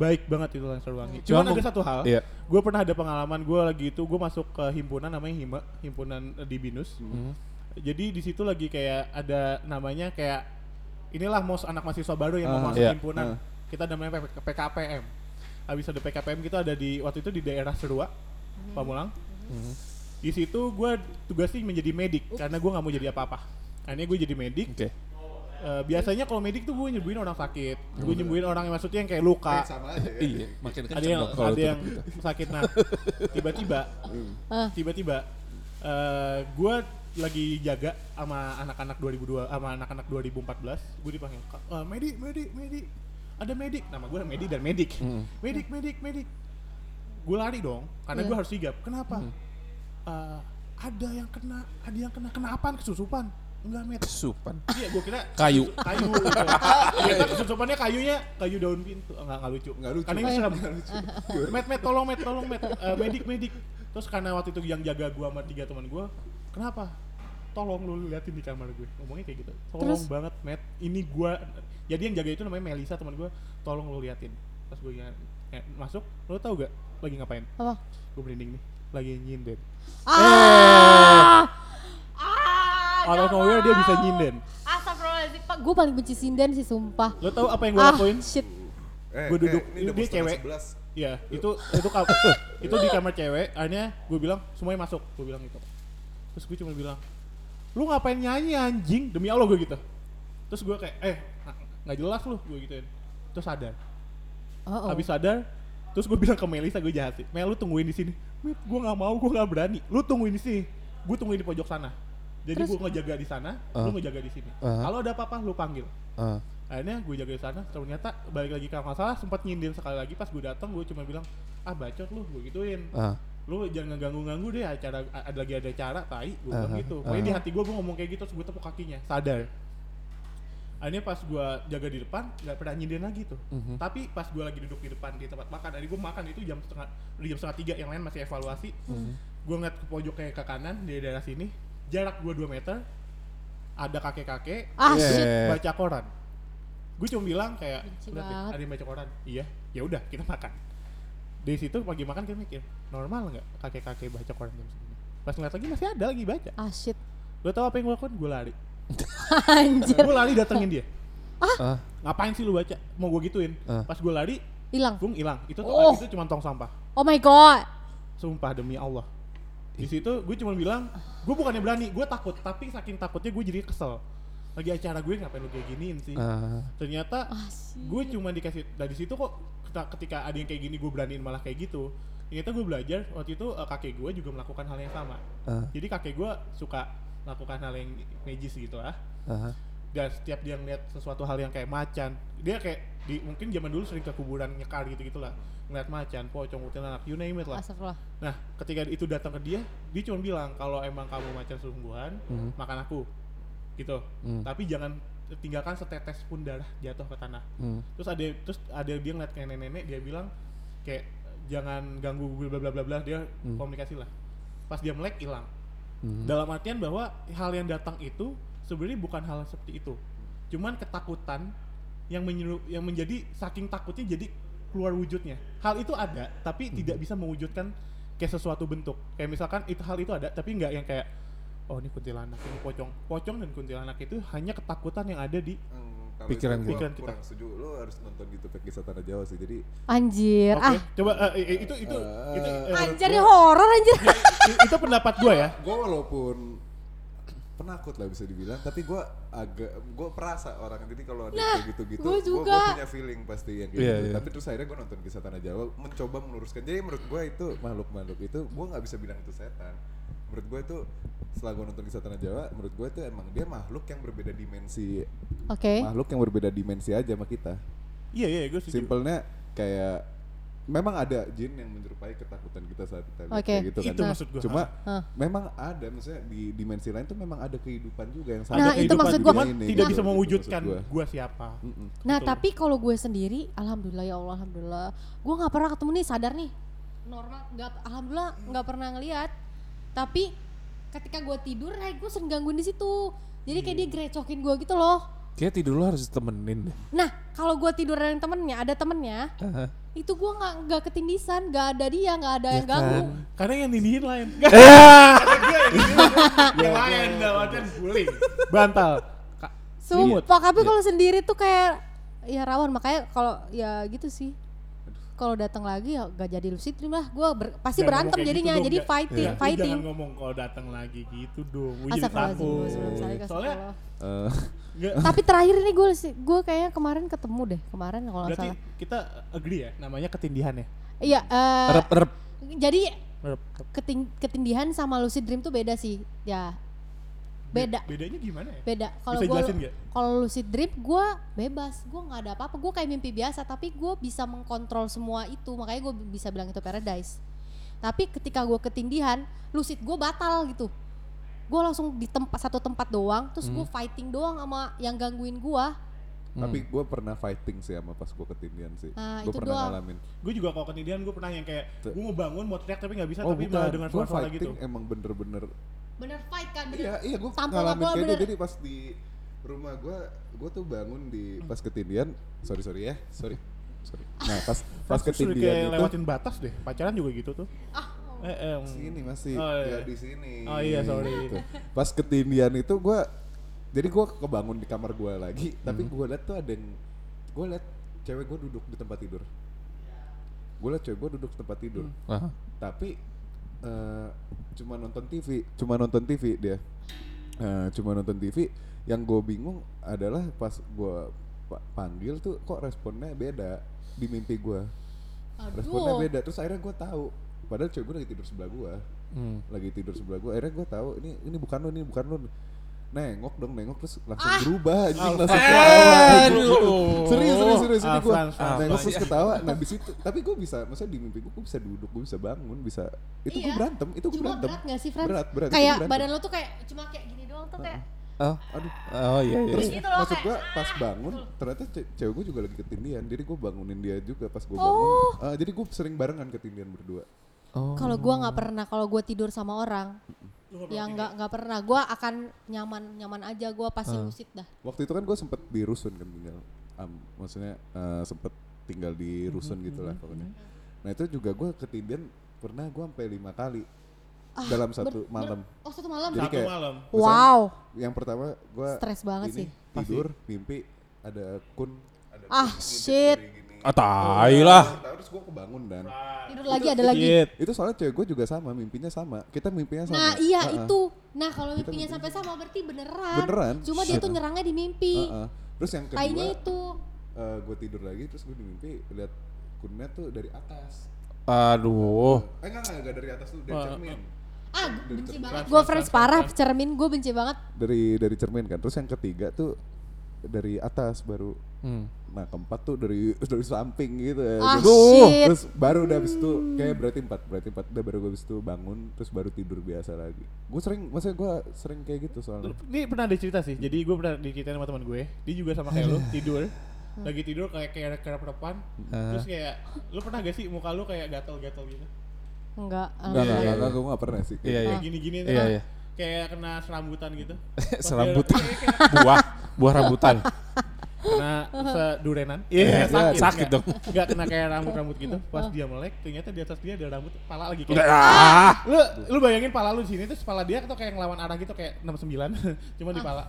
baik banget itu Lengser Wangi cuman Cuman ada mung- satu hal Iya. gue pernah ada pengalaman gue lagi itu gue masuk ke himpunan namanya hima himpunan eh, di binus Hmm. jadi di situ lagi kayak ada namanya kayak inilah mos anak mahasiswa baru yang Ah, mau masuk iya. himpunan Ah. kita namanya P- PKPM habis ada PKPM kita ada di waktu itu di daerah Serua Pamulang di situ gue tugasnya menjadi medik karena gue nggak mau jadi apa-apa akhirnya gue jadi medik Oke. Eh, biasanya kalau medik tuh gue nyembuhin orang sakit gue nyembuhin orang yang maksudnya yang kayak luka Sama aja ya. Iya, makin ada yang dong kalau ada itu. yang sakit nah tiba-tiba Ah. tiba-tiba eh, gue lagi jaga sama anak-anak 2002 sama anak-anak 2014 gue dipanggil "Kak, eh, medik medik medik ada medik nama gue medik dan medik medik medik medik gue lari dong karena Iya. gue harus sigap kenapa Eh, ada yang kena ada yang kena kena apaan kesusupan enggak med Supan. Iya, gue kira Kayu. kayu. Kita kesusupannya iya. kayunya kayu daun pintu. Enggak enggak lucu. Nggak lucu. Karena ini serem. Met, met, tolong met, tolong met. Eh, medik, medik. Terus karena waktu itu yang jaga gua sama tiga teman gua, kenapa? Tolong lu liatin di kamar gue. Ngomongnya kayak gitu. Tolong Terus? banget, met. Ini gua jadi yang jaga itu namanya Melisa teman gua. Tolong lu liatin. Terus gue eh, masuk, lu tau gak lagi ngapain? apa Gue merinding nih. Lagi nyinden. ah Out of nowhere dia bisa nyinden. Astagfirullahaladzim, Pak. Gue paling benci sinden sih, sumpah. Lu tau apa yang gue Ah, lakuin? shit. Eh, Gua duduk. Dia ini udah mau setengah cewek. sebelas. Iya, itu itu kam- itu di kamar cewek. Akhirnya gue bilang semuanya masuk, gue bilang gitu. Terus gue cuma bilang, lu ngapain nyanyi anjing? Demi Allah gue gitu. Terus gue kayak, eh nga- nggak jelas lu, gue gituin. Terus sadar. Oh, oh. Habis sadar, terus gue bilang ke Melisa gue jahat sih. Mel lu tungguin di sini. Mit, gue nggak mau, gue nggak berani. Lu tungguin di sini. Gue tungguin di pojok sana. Jadi gue ngejaga di sana, Ah. lu ngejaga di sini. Ah. Kalau ada apa-apa lu panggil Ah. akhirnya gue jaga di sana ternyata balik lagi ke masalah sempat nyindir sekali lagi pas gue datang gue cuma bilang ah bacot lu gue gituin Ah. lu jangan ganggu-ganggu deh acara a- ada lagi ada acara tai gue bilang Aha, gitu pokoknya di aha. hati gue gue ngomong kayak gitu terus gue tepuk kakinya sadar akhirnya pas gue jaga di depan nggak pernah nyindir lagi tuh tapi pas gue lagi duduk di depan di tempat makan tadi gue makan itu jam setengah udah jam setengah tiga yang lain masih evaluasi gue ngeliat ke pojok kayak ke kanan di daerah sini jarak gue 2 meter ada kakek-kakek Ah, Yeah. shit. Eh. baca koran gue cuma bilang kayak Benci "Lihat deh, banget. ada yang baca koran iya ya udah kita makan dari situ pagi makan kita mikir normal nggak kakek kakek baca koran jam segini pas ngeliat lagi masih ada lagi baca Ah, shit. lo tau apa yang gue lakukan gue lari Anjir. gue lari datengin dia Ah. ngapain sih lu baca mau gue gituin Ah. pas gue lari Hilang. gue hilang itu tuh Ah. Oh. itu cuma tong sampah Oh my god. sumpah demi Allah di situ gue cuma bilang gue bukannya berani gue takut tapi saking takutnya gue jadi kesel lagi acara gue ngapain lu kayak giniin sih Ah. ternyata Ah, shit. gue cuma dikasih dari situ kok keta- ketika ada yang kayak gini gue beraniin malah kayak gitu ternyata gue belajar waktu itu eh, kakek gue juga melakukan hal yang sama Ah. jadi kakek gue suka melakukan hal yang magis gitu lah Ah. dan setiap dia ngeliat sesuatu hal yang kayak macan dia kayak di, mungkin zaman dulu sering ke kuburan nyekar gitu gitulah ngeliat macan pocong kuntilanak you name it lah Astagfirullah. nah ketika itu datang ke dia dia cuma bilang kalau emang kamu macan sungguhan Mhm. makan aku gitu Hmm. tapi jangan tinggalkan setetes pun darah jatuh ke tanah Hmm. terus ada terus ada dia ngeliat kayak nenek-nenek dia bilang kayak jangan ganggu gue bla bla bla bla dia komunikasi lah pas dia melek hilang Hmm. dalam artian bahwa hal yang datang itu sebenarnya bukan hal seperti itu. Cuman ketakutan yang menyeru, yang menjadi saking takutnya jadi keluar wujudnya. Hal itu ada tapi tidak bisa mewujudkan kayak sesuatu bentuk. Kayak misalkan itu hal itu ada tapi nggak yang kayak oh ini kuntilanak, ini pocong. Pocong dan kuntilanak itu hanya ketakutan yang ada di Kalau Pikiran gua. itu gua Pikiran kita. kurang setuju lu harus nonton gitu kisah tanah Jawa sih jadi Anjir, Oke, ah. coba eh, eh, itu itu itu, eh, Anjir ini horor anjir. i- itu pendapat gua ya. gue walaupun penakut lah bisa dibilang tapi gue agak gue perasa orang jadi kalau ada kayak gitu-gitu Nah, gua gue juga. punya feeling pasti yang kayak Iya, gitu iya. tapi terus akhirnya gue nonton kisah tanah jawa mencoba meluruskan jadi menurut gue itu makhluk-makhluk itu gue nggak bisa bilang itu setan menurut gue itu setelah gue nonton kisah tanah jawa menurut gue itu emang dia makhluk yang berbeda dimensi Oke. makhluk yang berbeda dimensi aja sama kita Iya iya gua setuju. simpelnya kayak memang ada jin yang menyerupai ketakutan kita saat kita lihat Oke. kayak gitu kan Itu maksud gua. cuma Hah. memang ada maksudnya di dimensi lain tuh memang ada kehidupan juga yang Nah, sama itu kehidupan maksud di gua. dunia Cuman ini, tidak gitu, bisa gitu mewujudkan maksud gua. gua siapa. Mm-mm. Nah, Betul. tapi kalau gue sendiri alhamdulillah ya Allah alhamdulillah. Gue nggak pernah ketemu nih sadar nih. Normal nggak alhamdulillah nggak pernah ngelihat. Tapi ketika gue tidur, Ray gue sering gangguin di situ. Jadi kayak dia Hmm. gerecokin gue gitu loh. Kayak tidur lu harus temenin deh. Nah, kalau gue tidur ada yang temennya, ada temennya, Ah. itu gue nggak nggak ketindisan, nggak ada dia, nggak ada Iya yang kan? ganggu. Karena yang nindihin lain. Iya. yang lain dalam artian guling. Bantal. Ka- Imut. Sumpah, tapi kalau sendiri tuh kayak ya rawan makanya kalau ya gitu sih. Kalau datang lagi ya gak jadi lucid dream lah. Gue pasti Jangan ngomong berantem kayak jadinya, gitu dong, jadi ja- fighting, ja- lu fighting. Jangan ngomong kalau datang lagi gitu dong. Gue jadi Astagfirullahaladzim, takut. sebelum saya ke Soalnya sekolah. Eh, nggak- Tapi terakhir ini gue gue kayaknya kemarin ketemu deh kemarin kalau nggak berarti salah. kita agree ya namanya ketindihan ya. Iya. eh, Rep rep. jadi Merep. keting- ketindihan sama lucid dream tuh beda sih. Ya beda. Bedanya gimana ya? beda kalau Bisa gua jelasin nggak? kalau lucid dream gue bebas gue nggak ada apa-apa gue kayak mimpi biasa tapi gue bisa mengkontrol semua itu makanya gue bisa bilang itu paradise tapi ketika gue ketindihan lucid gue batal gitu gue langsung di tempat satu tempat doang terus gue fighting doang sama yang gangguin gue tapi gue pernah fighting sih sama pas gue ketindian sih Ah, Nah, gue itu pernah doang. ngalamin Gue juga kalau ketindihan gue pernah yang kayak Tuh. gue mau bangun mau teriak tapi nggak bisa oh tapi bukan malah dengan gue suara-suara fighting gitu. emang bener-bener bener fight kan iya iya gue Tampol ngalamin bola kayak gitu bener. jadi pas di rumah gue gue tuh bangun Hmm. di pas ketindian sorry sorry ya sorry sorry nah pas pas Terus suruh ketindian kayak itu lewatin batas deh. Pacaran juga gitu tuh. Ah. Eh, em, sini masih Oh, iya. ya di sini. Oh, iya, sorry. Gitu. Pas ketindian itu gua jadi gua kebangun di kamar gua lagi, tapi Hmm. gua liat tuh ada yang gua liat cewek gua duduk di tempat tidur. Gua liat cewek gua duduk di tempat tidur. Hmm. Aha. Tapi eh, cuma nonton TV, cuma nonton TV dia. Eh, cuma nonton TV. Yang gue bingung adalah pas gua pa- panggil tuh kok responnya beda di mimpi gua responnya aduh beda terus akhirnya gue tahu padahal cewek gue lagi tidur sebelah gue hmm. lagi tidur sebelah gue akhirnya gue tahu ini ini bukan lo ini bukan lo nengok dong nengok terus langsung Ah! berubah anjing langsung ketawa Anjing, gitu. serius serius serius ini gue Afan, Afan. nengok Iya. terus ketawa nah di situ tapi gue bisa maksudnya di mimpi gue gue bisa duduk gue bisa bangun bisa itu gue Iya. berantem itu gue cuma berantem berat gak sih Frans? Berat, berat, itu kayak berantem. badan lo tuh kayak cuma kayak gini doang tuh kayak Oh, aduh oh iya iya. terus Gitu loh, maksud kayak, gue pas bangun ternyata ce- cewek gue juga lagi ketindian jadi gue bangunin dia juga pas Oh. gue bangun Ah, jadi gue sering barengan ketindian berdua Oh. kalau gue nggak pernah kalau gue tidur sama orang Lu nggak pernah ya nggak nggak pernah gue akan nyaman nyaman aja gue pasti lucid dah waktu itu kan gue sempet di rusun kan tinggal Am- maksudnya eh, sempet tinggal di rusun gitu lah pokoknya nah itu juga gue ketindian pernah gue sampai lima kali Ah, dalam satu malam oh satu malam Jadi eh, Satu kayak- malam. wow yang pertama gue Stres banget sih. tidur mimpi ada kun ada ah shit Ah, tai lah. terus gue kebangun dan tidur lagi ada lagi itu soalnya cewek gue juga sama mimpinya sama kita mimpinya sama nah iya Ah, ah. itu nah kalau mimpinya sampai sama berarti beneran Beneran. cuma dia tuh nyerangnya di mimpi Ah, ah. terus yang kedua kayaknya itu gue tidur lagi terus gue di mimpi lihat kunnya tuh dari atas Aduh. eh enggak enggak, enggak dari atas tuh dari cermin ah gua benci banget gue friends parah cermin gue benci banget dari dari cermin kan terus yang ketiga tuh dari atas baru nah keempat tuh dari dari samping gitu ya ah terus, shit Hmm. terus baru udah abis itu kayak berarti empat berarti empat udah baru gue abis itu bangun terus baru tidur biasa lagi gue sering maksudnya gue sering kayak gitu soalnya Ini pernah ada cerita sih. Jadi gue pernah diceritain sama teman gue. Dia juga sama kayak lu tidur. Lagi tidur kayak kayak kerap depan. Ah. Terus kayak lu pernah gak sih muka lu kayak gatel-gatel gitu? enggak enggak alhamdulillah. enggak enggak gue gak pernah sih kayak Iya iya. Kayak gini-gini Iya, iya. Kayak kayak kena serambutan gitu. Serambutan. buah, buah rambutan. Kena sedurenan. Iya, sakit. sakit Nggak- dong. Nggak kena kayak rambut-rambut gitu. Pas dia melek, ternyata di atas dia ada rambut pala lagi kayak. Ah. Lu lu bayangin pala lu di sini terus pala dia tuh kayak ngelawan arah gitu kayak 69. Cuma di pala.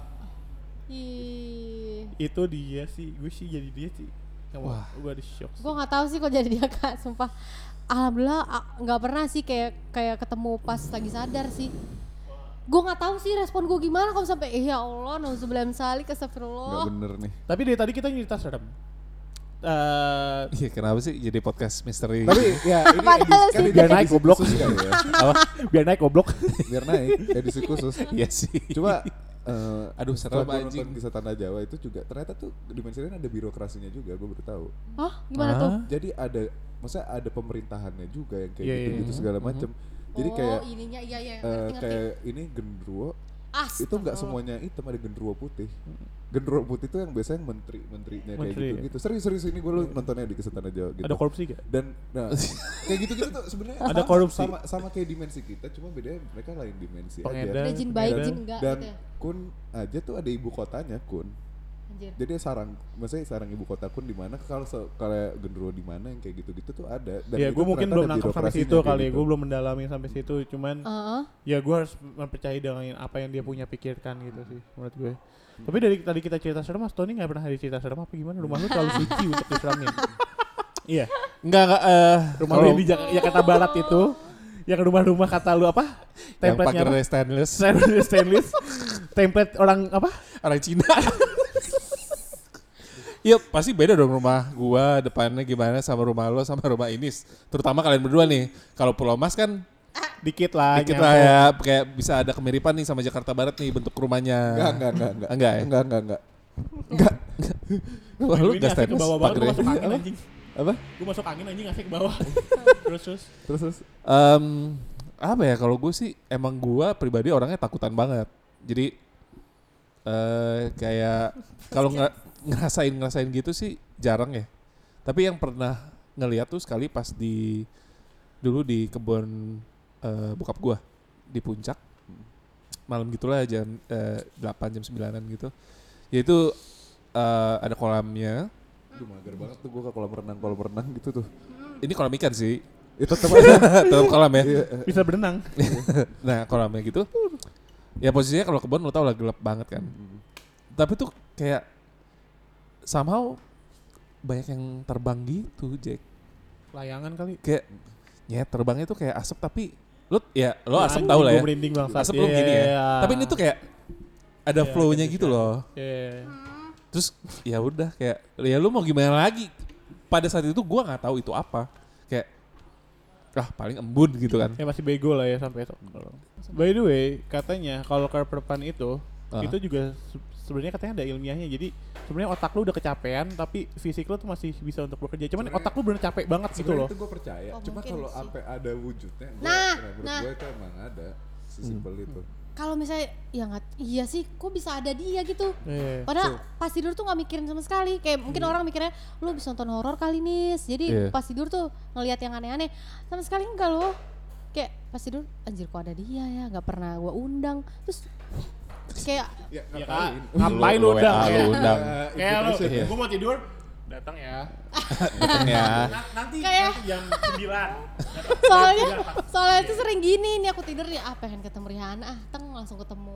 Ih, Itu dia sih, gue sih jadi dia sih. Wah, gue di shock. sih. gue nggak tahu sih kok jadi dia kak, sumpah. Alhamdulillah a- nggak pernah sih kayak kayak ketemu pas lagi sadar sih. Gue nggak tahu sih respon gue gimana kalau sampai "Eh, ya Allah, nauzubillah min salik, Nggak astagfirullah. bener nih. Tapi dari tadi kita cerita serem. Eh, Iya kenapa sih jadi podcast misteri? Tapi ya ini Padahal edisi, kan sih ini Biar naik, edisi goblok. khusus kali ya. biar naik goblok. Biar naik edisi khusus. Iya sih. Coba eh, Aduh, serem setelah gua anjing. nonton kisah tanah Jawa itu juga ternyata tuh di Manchurian ada birokrasinya juga gue baru tahu. Hah, gimana tuh? Ah. Jadi ada maksudnya ada pemerintahannya juga yang kayak Iya, iya, gitu-gitu segala macam. Jadi kayak oh, ininya iya iya eh, ngerti ngerti. kayak ini genderuwo Ah, itu nggak semuanya hitam ada genderuwo putih. Genderuwo putih itu yang biasanya menteri menterinya Mhm. kayak Menteri. iya. gitu gitu. Serius-serius ini gue nontonnya di kesana Jawa gitu. Ada korupsi gak? dan nah, kayak gitu-gitu tuh sebenarnya Ada sama- korupsi. sama sama kayak dimensi kita cuma bedanya mereka lain dimensi Pengedar. Ada aja. jin baik, Dan- jin enggak Dan gitu ya. Kun aja tuh ada ibu kotanya Kun. Anjir. Jadi sarang, maksudnya sarang ibu kota Kun di mana kalau se- kalau genderuwo di mana yang kayak gitu-gitu tuh ada. Dan ya itu gue mungkin ternyata belum ada nangkep sampai birokrasinya situ kayak kali gitu. gue belum mendalami sampai situ cuman Heeh. ya gue harus mempercayai dengan apa yang dia punya pikirkan gitu sih menurut gue tapi dari tadi kita cerita serem mas Tony nggak pernah ada cerita serem apa gimana rumah lu terlalu suci untuk diseramin iya Enggak enggak eh rumah lu kalau yang di Jak- Jakarta Barat itu yang rumah-rumah kata lu apa yang template-nya apa? pagar stainless Stainless- stainless template orang apa orang Cina. Iya pasti beda dong rumah gua depannya gimana sama rumah lo sama rumah ini terutama kalian berdua nih kalau Pulau Mas kan dikit lah dikit nyampe. lah ya kayak bisa ada kemiripan nih sama Jakarta Barat nih bentuk rumahnya Enggak, enggak, enggak, enggak. Enggak ya? Enggak, enggak, enggak. Wah, lu Ini gas asik ke stainless bawah banget gue pagernya. masuk angin anjing Apa? gue masuk angin anjing ngasih ke bawah terus terus Terus terus Em, apa ya kalau gue sih emang gua pribadi orangnya takutan banget. Jadi eh kayak kalau nge- ngerasain ngerasain gitu sih jarang ya. Tapi yang pernah ngeliat tuh sekali pas di dulu di kebun eh, bokap gua di puncak malam gitulah jam eh, 8 jam 9-an gitu. Yaitu eh, ada kolamnya. Aduh mager banget tuh gue ke kolam renang, kolam renang gitu tuh. Ini kolam ikan sih. Itu tetap aja. Tetap kolam ya. bisa berenang nah kolamnya gitu ya posisinya kalau kebun lo tau lah gelap banget kan tapi tuh kayak somehow banyak yang terbang gitu Jack layangan kali kayak ya terbangnya tuh kayak asap tapi lo ya lo Ya, asap anjing, tau lah ya gua merinding bangsat. asap lo gini ya Iya. tapi ini tuh kayak ada Iya, flow-nya iya, gitu iya. loh Iya. terus ya udah kayak ya lu mau gimana lagi pada saat itu gua nggak tahu itu apa kayak ah paling embun gitu kan Ya masih bego lah ya sampai itu. By the way, katanya kalau perpan itu Ah. itu juga se- sebenarnya katanya ada ilmiahnya. Jadi sebenarnya otak lu udah kecapean tapi fisik lu tuh masih bisa untuk bekerja. Cuman Sebenarnya- otak lu bener capek banget gitu Sebenarnya loh. itu gue percaya. Oh, Cuma mungkin kalau sih. apa ada wujudnya, gua, Nah, menurut nah. gue itu emang ada. Sesimpel itu. Hmm. Kalau misalnya ya nggak iya sih, kok bisa ada dia gitu? Iya. Padahal pas tidur tuh nggak mikirin sama sekali. Kayak mungkin orang mikirnya lu bisa nonton horor kali nih. Jadi Iya. pas tidur tuh ngelihat yang aneh-aneh. Sama sekali enggak loh. Kayak pas tidur anjir kok ada dia ya, nggak pernah gua undang. Terus kayak Ya, Ya, ngapain? Kak. Ngapain lu udah? WA, lu Kayak- undang Eh, Kayak lu, implication. Iya. gua mau tidur, datang ya. ya Na- nanti, Kayak- nanti jam 9. soalnya soalnya itu sering gini nih aku tidur ya ah pengen ketemu Rihanna ah teng langsung ketemu.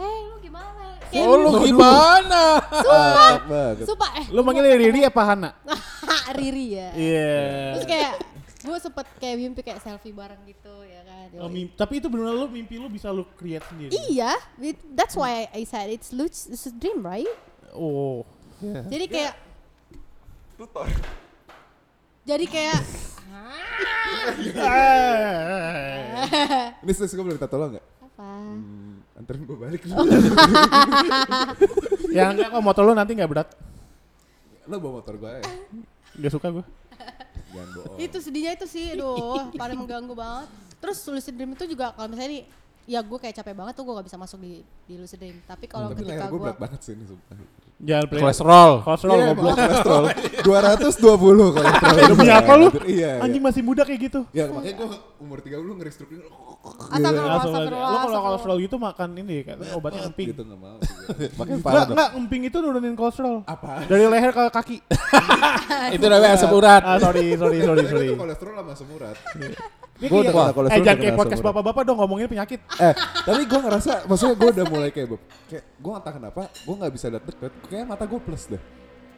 Hei lu gimana? Kayak Oh lu gimana? sumpah, Cakep banget. sumpah eh Lu manggilnya Riri apa Hana? Riri ya. Iya. Terus kayak gue sempet kayak mimpi kayak selfie bareng gitu ya kan. Oh, mim- tapi itu benar lu mimpi lu bisa lu create sendiri. Iya, it- that's why I said it's luc- it's a dream, right? Oh. Jadi kayak Tutor. jadi kayak Ini sis gue boleh minta tolong gak? apa? Anterin gue balik ya enggak kok motor lu nanti enggak berat. Lo bawa motor gue ya? Enggak suka gua. Jangan bohong Itu sedihnya itu sih, aduh, paling mengganggu banget. Terus lucid dream itu juga kalau misalnya nih ya gue kayak capek banget tuh gue gak bisa masuk di di lucid dream. Tapi kalau Hmm, Tapi ketika layar gue gue berat banget sih ini sumpah Jangan play. Kolesterol. Kolesterol Iya, goblok. emang kolesterol 220 kolesterol Demi apa lu? Iya iya. Anjing masih muda kayak gitu. Ya makanya gue umur 30 ngerestructuring oh, Astagfirullah, Langsung aja. astagfirullah. Lo kalau astagfirullah. kolesterol gitu makan ini kan obatnya emping. Gitu nggak mau. Makin parah Enggak, dong. enggak, emping itu nurunin kolesterol. Apa? Dari leher ke kaki. Itu namanya asam urat. Ah, sorry, sorry, sorry, sorry. Itu kolesterol sama asam urat. Ini Gua udah kayak- kena eh, kolesterol, jangan udah kayak kena podcast asam urat. bapak-bapak dong ngomongin penyakit. eh tapi gue ngerasa maksudnya gue udah mulai kayak Bob, kayak gue entah kenapa gue nggak bisa lihat deket kayak mata gue plus deh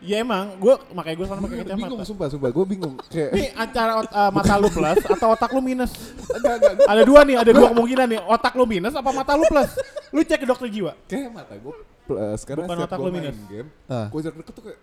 Ya emang, gue makanya gue sekarang pakai bingung kacamata. sumpah sumpah gue bingung kayak Ini antara ot- eh, mata lu plus atau otak lu minus. enggak enggak gua- Ada dua nih, ada dua kemungkinan nih. Otak lu minus apa mata lu plus? Lu cek ke dokter jiwa. kayak mata gue plus karena Bukan setiap otak gue lu main minus. game Ah. gue jarak deket tuh kayak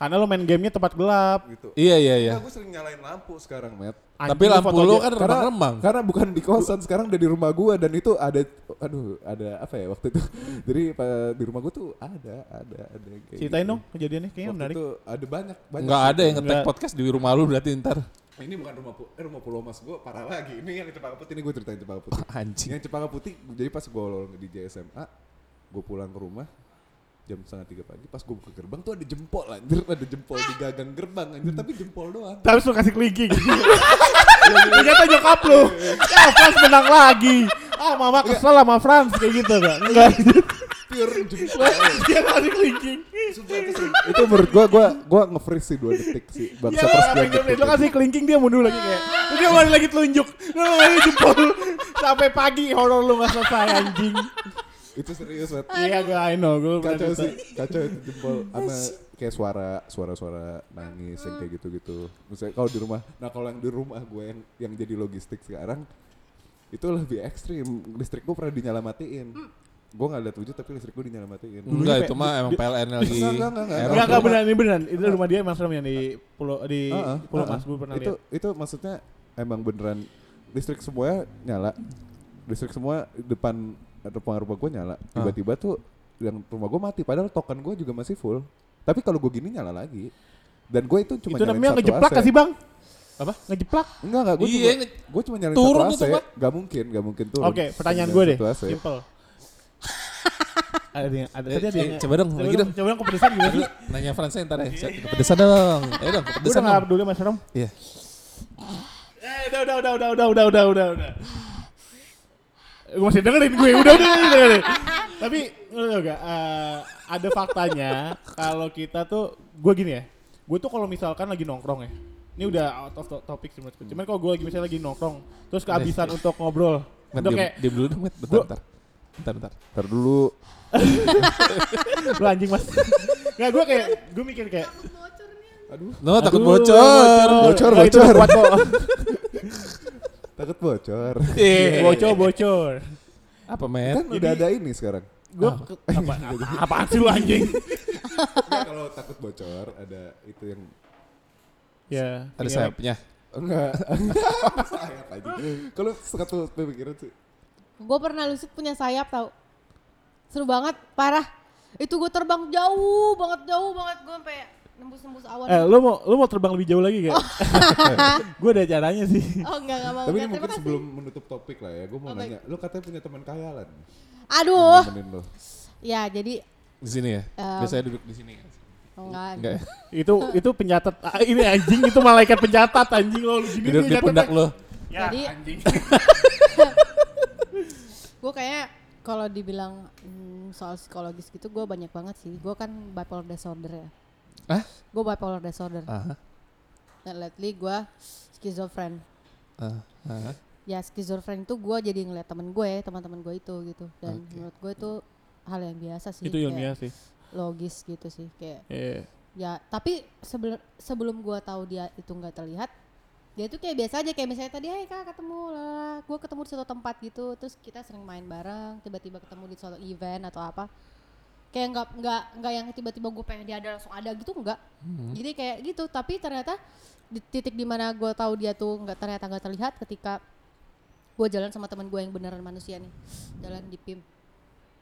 Karena lu main gamenya tempat gelap. gitu Iya iya iya. Nah, gue sering nyalain lampu sekarang Matt Anjing, Tapi lampu foto lu aja. kan remang-remang. karena bukan di kosan sekarang udah di rumah gue dan itu ada aduh ada apa ya waktu itu jadi pa- di rumah gue tuh ada ada ada kayak Ceritain gitu. dong kejadiannya kayaknya waktu menarik. itu ada banyak banyak Enggak ada ya? yang ngetek Nggak. podcast di rumah lu berarti ntar. ini bukan rumah pu- eh, rumah pulau mas gue parah lagi ini yang cepaka putih ini gue ceritain cepaka putih Iya, Anjing. yang cepaka putih jadi pas gue di JSMA gue pulang ke rumah jam setengah tiga pagi pas gue buka gerbang tuh ada jempol anjir ada jempol di gagang gerbang anjir tapi jempol doang Terus lu kasih kelingking. Ternyata nyokap lu. Ya Frans menang lagi. Ah mama kesel sama Frans kayak gitu enggak? Enggak. pure jempol Dia kasih kelingking. Sumpah, itu, sering- itu menurut gue gue gue nge-freeze sih dua detik sih Ya bangsa gitu. lu pas apa dua yang dia- detik lu kasih kelingking dia mundur lagi kayak. Terus Dia balik lagi telunjuk. Lu lagi jempol. Sampai pagi horor lu gak selesai anjing. itu serius banget Iya gue I know gue pernah kacau cerita. sih kacau itu jempol sama kayak suara suara suara nangis yang kayak gitu gitu misalnya kalau di rumah nah kalau yang di rumah gue yang yang jadi logistik sekarang itu lebih ekstrim listrik gue pernah dinyalamatiin Hmm. gue nggak lihat wujud tapi listrik gue dinyalamatiin Enggak Dulu itu di- mah emang PLN lagi. Enggak, enggak, enggak, enggak. error. Enggak, enggak beneran, ini beneran. Itu rumah dia emang serem yang di pulau di Heeh, pulau heeh. Mas gue pernah itu lihat. itu maksudnya emang beneran listrik semuanya nyala listrik semua depan depan rumah gue nyala tiba-tiba tuh yang rumah gue mati padahal token gue juga masih full tapi kalau gue gini nyala lagi dan gue itu cuma Itu nyalain namanya satu ngejeplak AC. gak sih bang? Apa? Ngejeplak? Enggak enggak gue Iya, cuma nge- gue cuma nyalain turun satu tuh, AC. Pak. Gak mungkin, gak mungkin turun. Oke, pertanyaan Cuma gue deh. nyalain satu AC. Simple. Ada yang ada Eh, tadi ada eh, yang- coba dong, lagi dong. Coba dong kepedesan gimana sih? Nanya Fransa ntar ya. Kepedesan dong. Ayo dong Gue kepedesan Iya. udah gak dong. peduli sama serem. Iya. Eh, udah, udah, udah, udah, udah, udah, udah, udah, udah. Gue masih dengerin gue, udah, udah, udah, udah, udah. Tapi, lu tau gak, eh, ada faktanya kalau kita tuh, gue gini ya, gue tuh kalau misalkan lagi nongkrong ya, ini udah out of to- topic sih menurut gue. Cuman kalau gue lagi misalnya lagi nongkrong, terus kehabisan untuk ngobrol, Mat, udah diem- kayak, diem dulu dong, Mat. Bentar, Gua- bentar. Bentar, bentar. Ntar dulu. lu anjing mas. Gak, gue kayak, gue mikir kayak, Aduh, No, Oh, takut Aduh, bocor. Bocor, Nah, itu bocor. kuat kok. takut bocor. Iya. Eh, bocor, bocor. Apa, Mat? kan udah ada ini sekarang. Ah. Gue apa, apaan sih lu anjing? Enggak, kalau takut bocor ada itu yang Ya, Ada iya. sayapnya. Enggak. sayap aja. Kalau satu pemikiran sih. Gue pernah lucid punya sayap tau. Seru banget, parah. Itu gue terbang jauh banget, jauh banget. Gue sampai nembus-nembus awan. Eh, lu mau lu mau terbang lebih jauh lagi gak? gue ada caranya sih. oh enggak, enggak mau. Tapi ini enggak. mungkin Terima kasih. sebelum menutup topik lah ya, gue mau Oh, nanya. Lu katanya punya teman kayalan. Aduh. Temenin lo. Ya jadi, Di sini ya. Em. Biasanya duduk di sini. enggak. Enggak ya? Itu itu pencatat ah, ini anjing itu malaikat pencatat anjing lo lu gini Duduk dia di catat. pundak lo. Ya, Jadi- anjing. Gue kayaknya kalau dibilang hmm, soal psikologis gitu gue banyak banget sih. Gue kan bipolar disorder ya. Hah? Gue bipolar disorder. Aha. Dan lately gue schizophren. Ah, ah. Ya schizophren itu gue jadi ngeliat temen gue, teman-teman gue itu gitu. Dan menurut gue itu hal yang biasa sih. itu kayak ilmiah sih. Logis gitu sih kayak Iya. ya tapi sebelum sebelum gua tahu dia itu nggak terlihat dia tuh kayak biasa aja kayak misalnya tadi hai kak ketemu lah gua ketemu di suatu tempat gitu terus kita sering main bareng tiba-tiba ketemu di suatu event atau apa kayak nggak nggak nggak yang tiba-tiba gue pengen dia ada langsung ada gitu nggak jadi kayak gitu tapi ternyata di titik dimana gua tahu dia tuh nggak ternyata nggak terlihat ketika gue jalan sama teman gue yang beneran manusia nih jalan di pim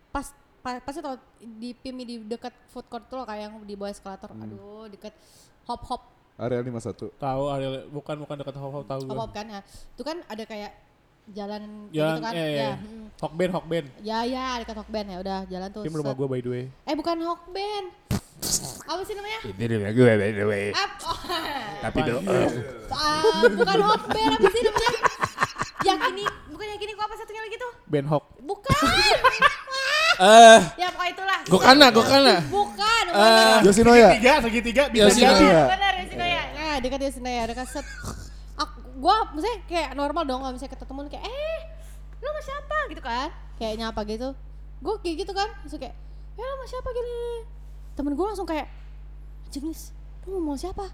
pas pa- pasti tau di pim di dekat food court tuh loh, kayak yang di bawah eskalator aduh dekat hop hop Area 51. Tahu Ariel bukan bukan dekat Hofhof tahu hop gue. hop kan ya itu kan ada kayak jalan kayak Jalan gitu kan eh ya ya. mm. Hokben Hokben. ya ya dekat hok band ya udah jalan tuh Tim rumah set. gue by the way. eh bukan hok band apa sih namanya Ini dia gue by the way. Ap oh, Tapi eh. dong. ah, bukan hok band apa sih namanya yang ini bukan yang gini kok apa satunya lagi tuh? Ben Hok. Bukan. Eh, ya pokoknya itulah. Gokana, Gokana. Bukan. kan Eh, Yoshinoya. Tiga, segitiga bisa Yoshinoya. jadi. Iya. Benar ya Sinoya. Nah, dekat ya sini ya, dekat set. Aku, gua misalnya kayak normal dong kalau misalnya ketemu kayak eh lu sama siapa gitu kan? Kayak nyapa gitu. Gua kayak gitu kan, terus kayak eh lu sama siapa gini. Temen gua langsung kayak jenis lu ngomong sama siapa?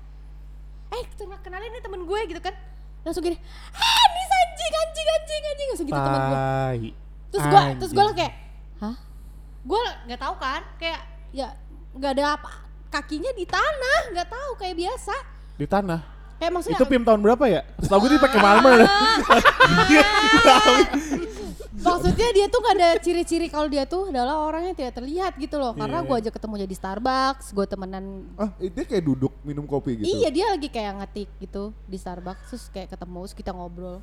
Eh, kena- kenalin nih temen gue gitu kan. Langsung gini, ah ini anjing, anjing, anjing, anjing. Langsung gitu temen gue. Tai. Terus gua, terus gua Anjing. kayak, hah? Gue nggak tahu kan, kayak Ya, nggak ada apa kakinya di tanah, nggak tahu kayak biasa. di tanah. Kayak maksudnya Itu Pim tahun berapa ya? Setahu gue dia pakai Malmer. Iya, Maksudnya dia tuh gak ada ciri-ciri kalau dia tuh adalah orang yang tidak terlihat gitu loh. Karena Iya. gue aja ketemu dia di Starbucks, gue temenan. Ah, dia kayak duduk minum kopi gitu. Iya dia lagi kayak ngetik gitu di Starbucks, terus kayak ketemu, terus kita ngobrol.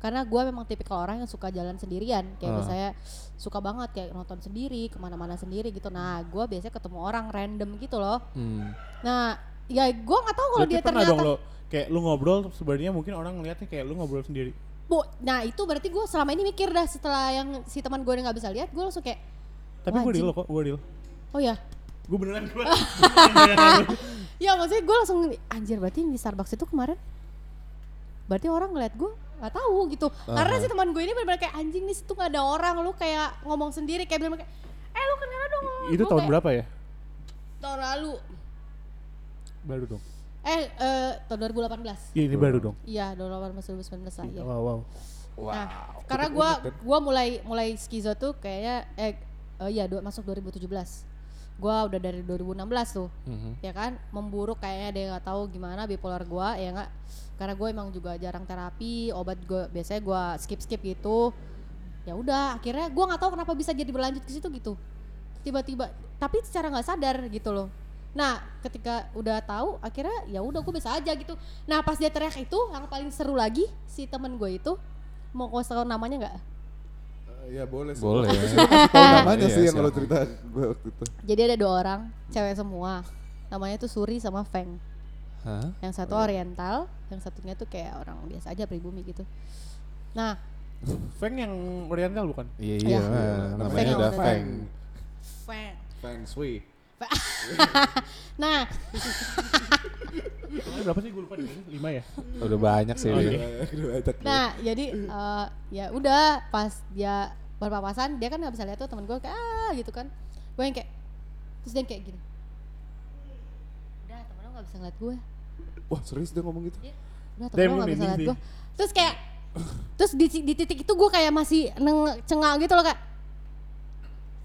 Karena gue memang tipikal orang yang suka jalan sendirian, Ah. kayak misalnya suka banget kayak nonton sendiri, kemana-mana sendiri gitu. Nah gue biasanya ketemu orang random gitu loh. hmm. Nah ya gue nggak tahu kalau Berarti dia pernah dong ternyata lo kayak lu ngobrol sebenarnya mungkin orang ngeliatnya kayak lu ngobrol sendiri. Bu, nah itu berarti gue selama ini mikir dah setelah yang si teman gue nggak bisa lihat, gue langsung kayak, Tapi Wah, gue anjing. real kok, gue real. oh ya, Gue beneran gue. ya maksudnya gue langsung anjir berarti yang di Starbucks itu kemarin berarti orang ngeliat gue nggak tahu gitu karena si teman gue ini benar kayak anjing nih situ nggak ada orang lu kayak ngomong sendiri kayak bilang kayak eh lu kenal dong Itu Gua tahun kayak, berapa ya? tahun lalu Baru dong. eh, eh tahun 2018 Iya ini baru dong. iya 2018 2019 lah iya. Wow, wow. nah karena gue gua mulai mulai skizo tuh kayaknya eh eh, iya dua- masuk 2017 gue udah dari 2016 tuh Mhm. ya kan memburuk kayaknya dia nggak tahu gimana bipolar gua ya nggak karena gue emang juga jarang terapi obat gue biasanya gua skip skip gitu ya udah akhirnya gua nggak tahu kenapa bisa jadi berlanjut ke situ gitu tiba-tiba tapi secara nggak sadar gitu loh nah ketika udah tahu akhirnya ya udah gue bisa aja gitu nah pas dia teriak itu yang paling seru lagi si temen gue itu mau kau tahu namanya nggak ya boleh sih. boleh. Tahu namanya Iya, sih yang siapa? lo cerita gue waktu itu. jadi ada dua orang cewek semua namanya tuh Suri sama Feng Hah? yang satu oriental yang satunya tuh kayak orang biasa aja pribumi gitu nah Feng yang Oriental bukan? Iya, Iya. iya. Namanya Feng udah yang Feng. Feng Feng Shui. nah Iya. Ini berapa sih gue lupa deh. Lima ya? Udah banyak sih. Oke. dia. nah Gitu. jadi eh, ya udah pas dia berpapasan dia kan nggak bisa lihat tuh temen gue kayak ah gitu kan gue yang kayak terus dia yang kayak gini udah temen lo nggak bisa ngeliat gue Wah serius dia ngomong gitu? Iya, udah Dia temen lo emang nggak bisa merinding ngeliat sih. gue terus kayak terus di, di titik itu gue kayak masih neng cengak gitu loh kak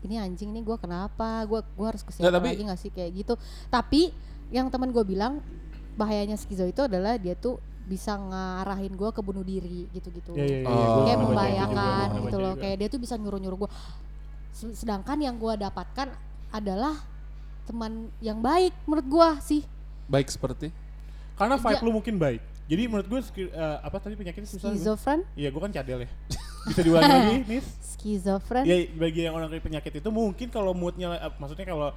ini anjing nih gue kenapa gue gua harus kesini Nggak, tapi- lagi nggak sih kayak gitu tapi yang teman gue bilang bahayanya skizo itu adalah dia tuh bisa ngarahin gue ke bunuh diri gitu-gitu Iya, iya, iya. Oh. Gua pernah baca itu kayak juga, membayangkan pernah gitu baca loh juga. kayak dia tuh bisa nyuruh nyuruh gue sedangkan yang gue dapatkan adalah teman yang baik menurut gue sih Baik seperti. Karena vibe Ja- lu mungkin baik. Jadi menurut gue ski- eh, apa tadi penyakitnya susah? gua. skizofren Iya, gue kan cadel ya. Bisa diulangi lagi, Nis? skizofren Ya bagi yang orang kayak penyakit itu mungkin kalau moodnya, eh, maksudnya kalau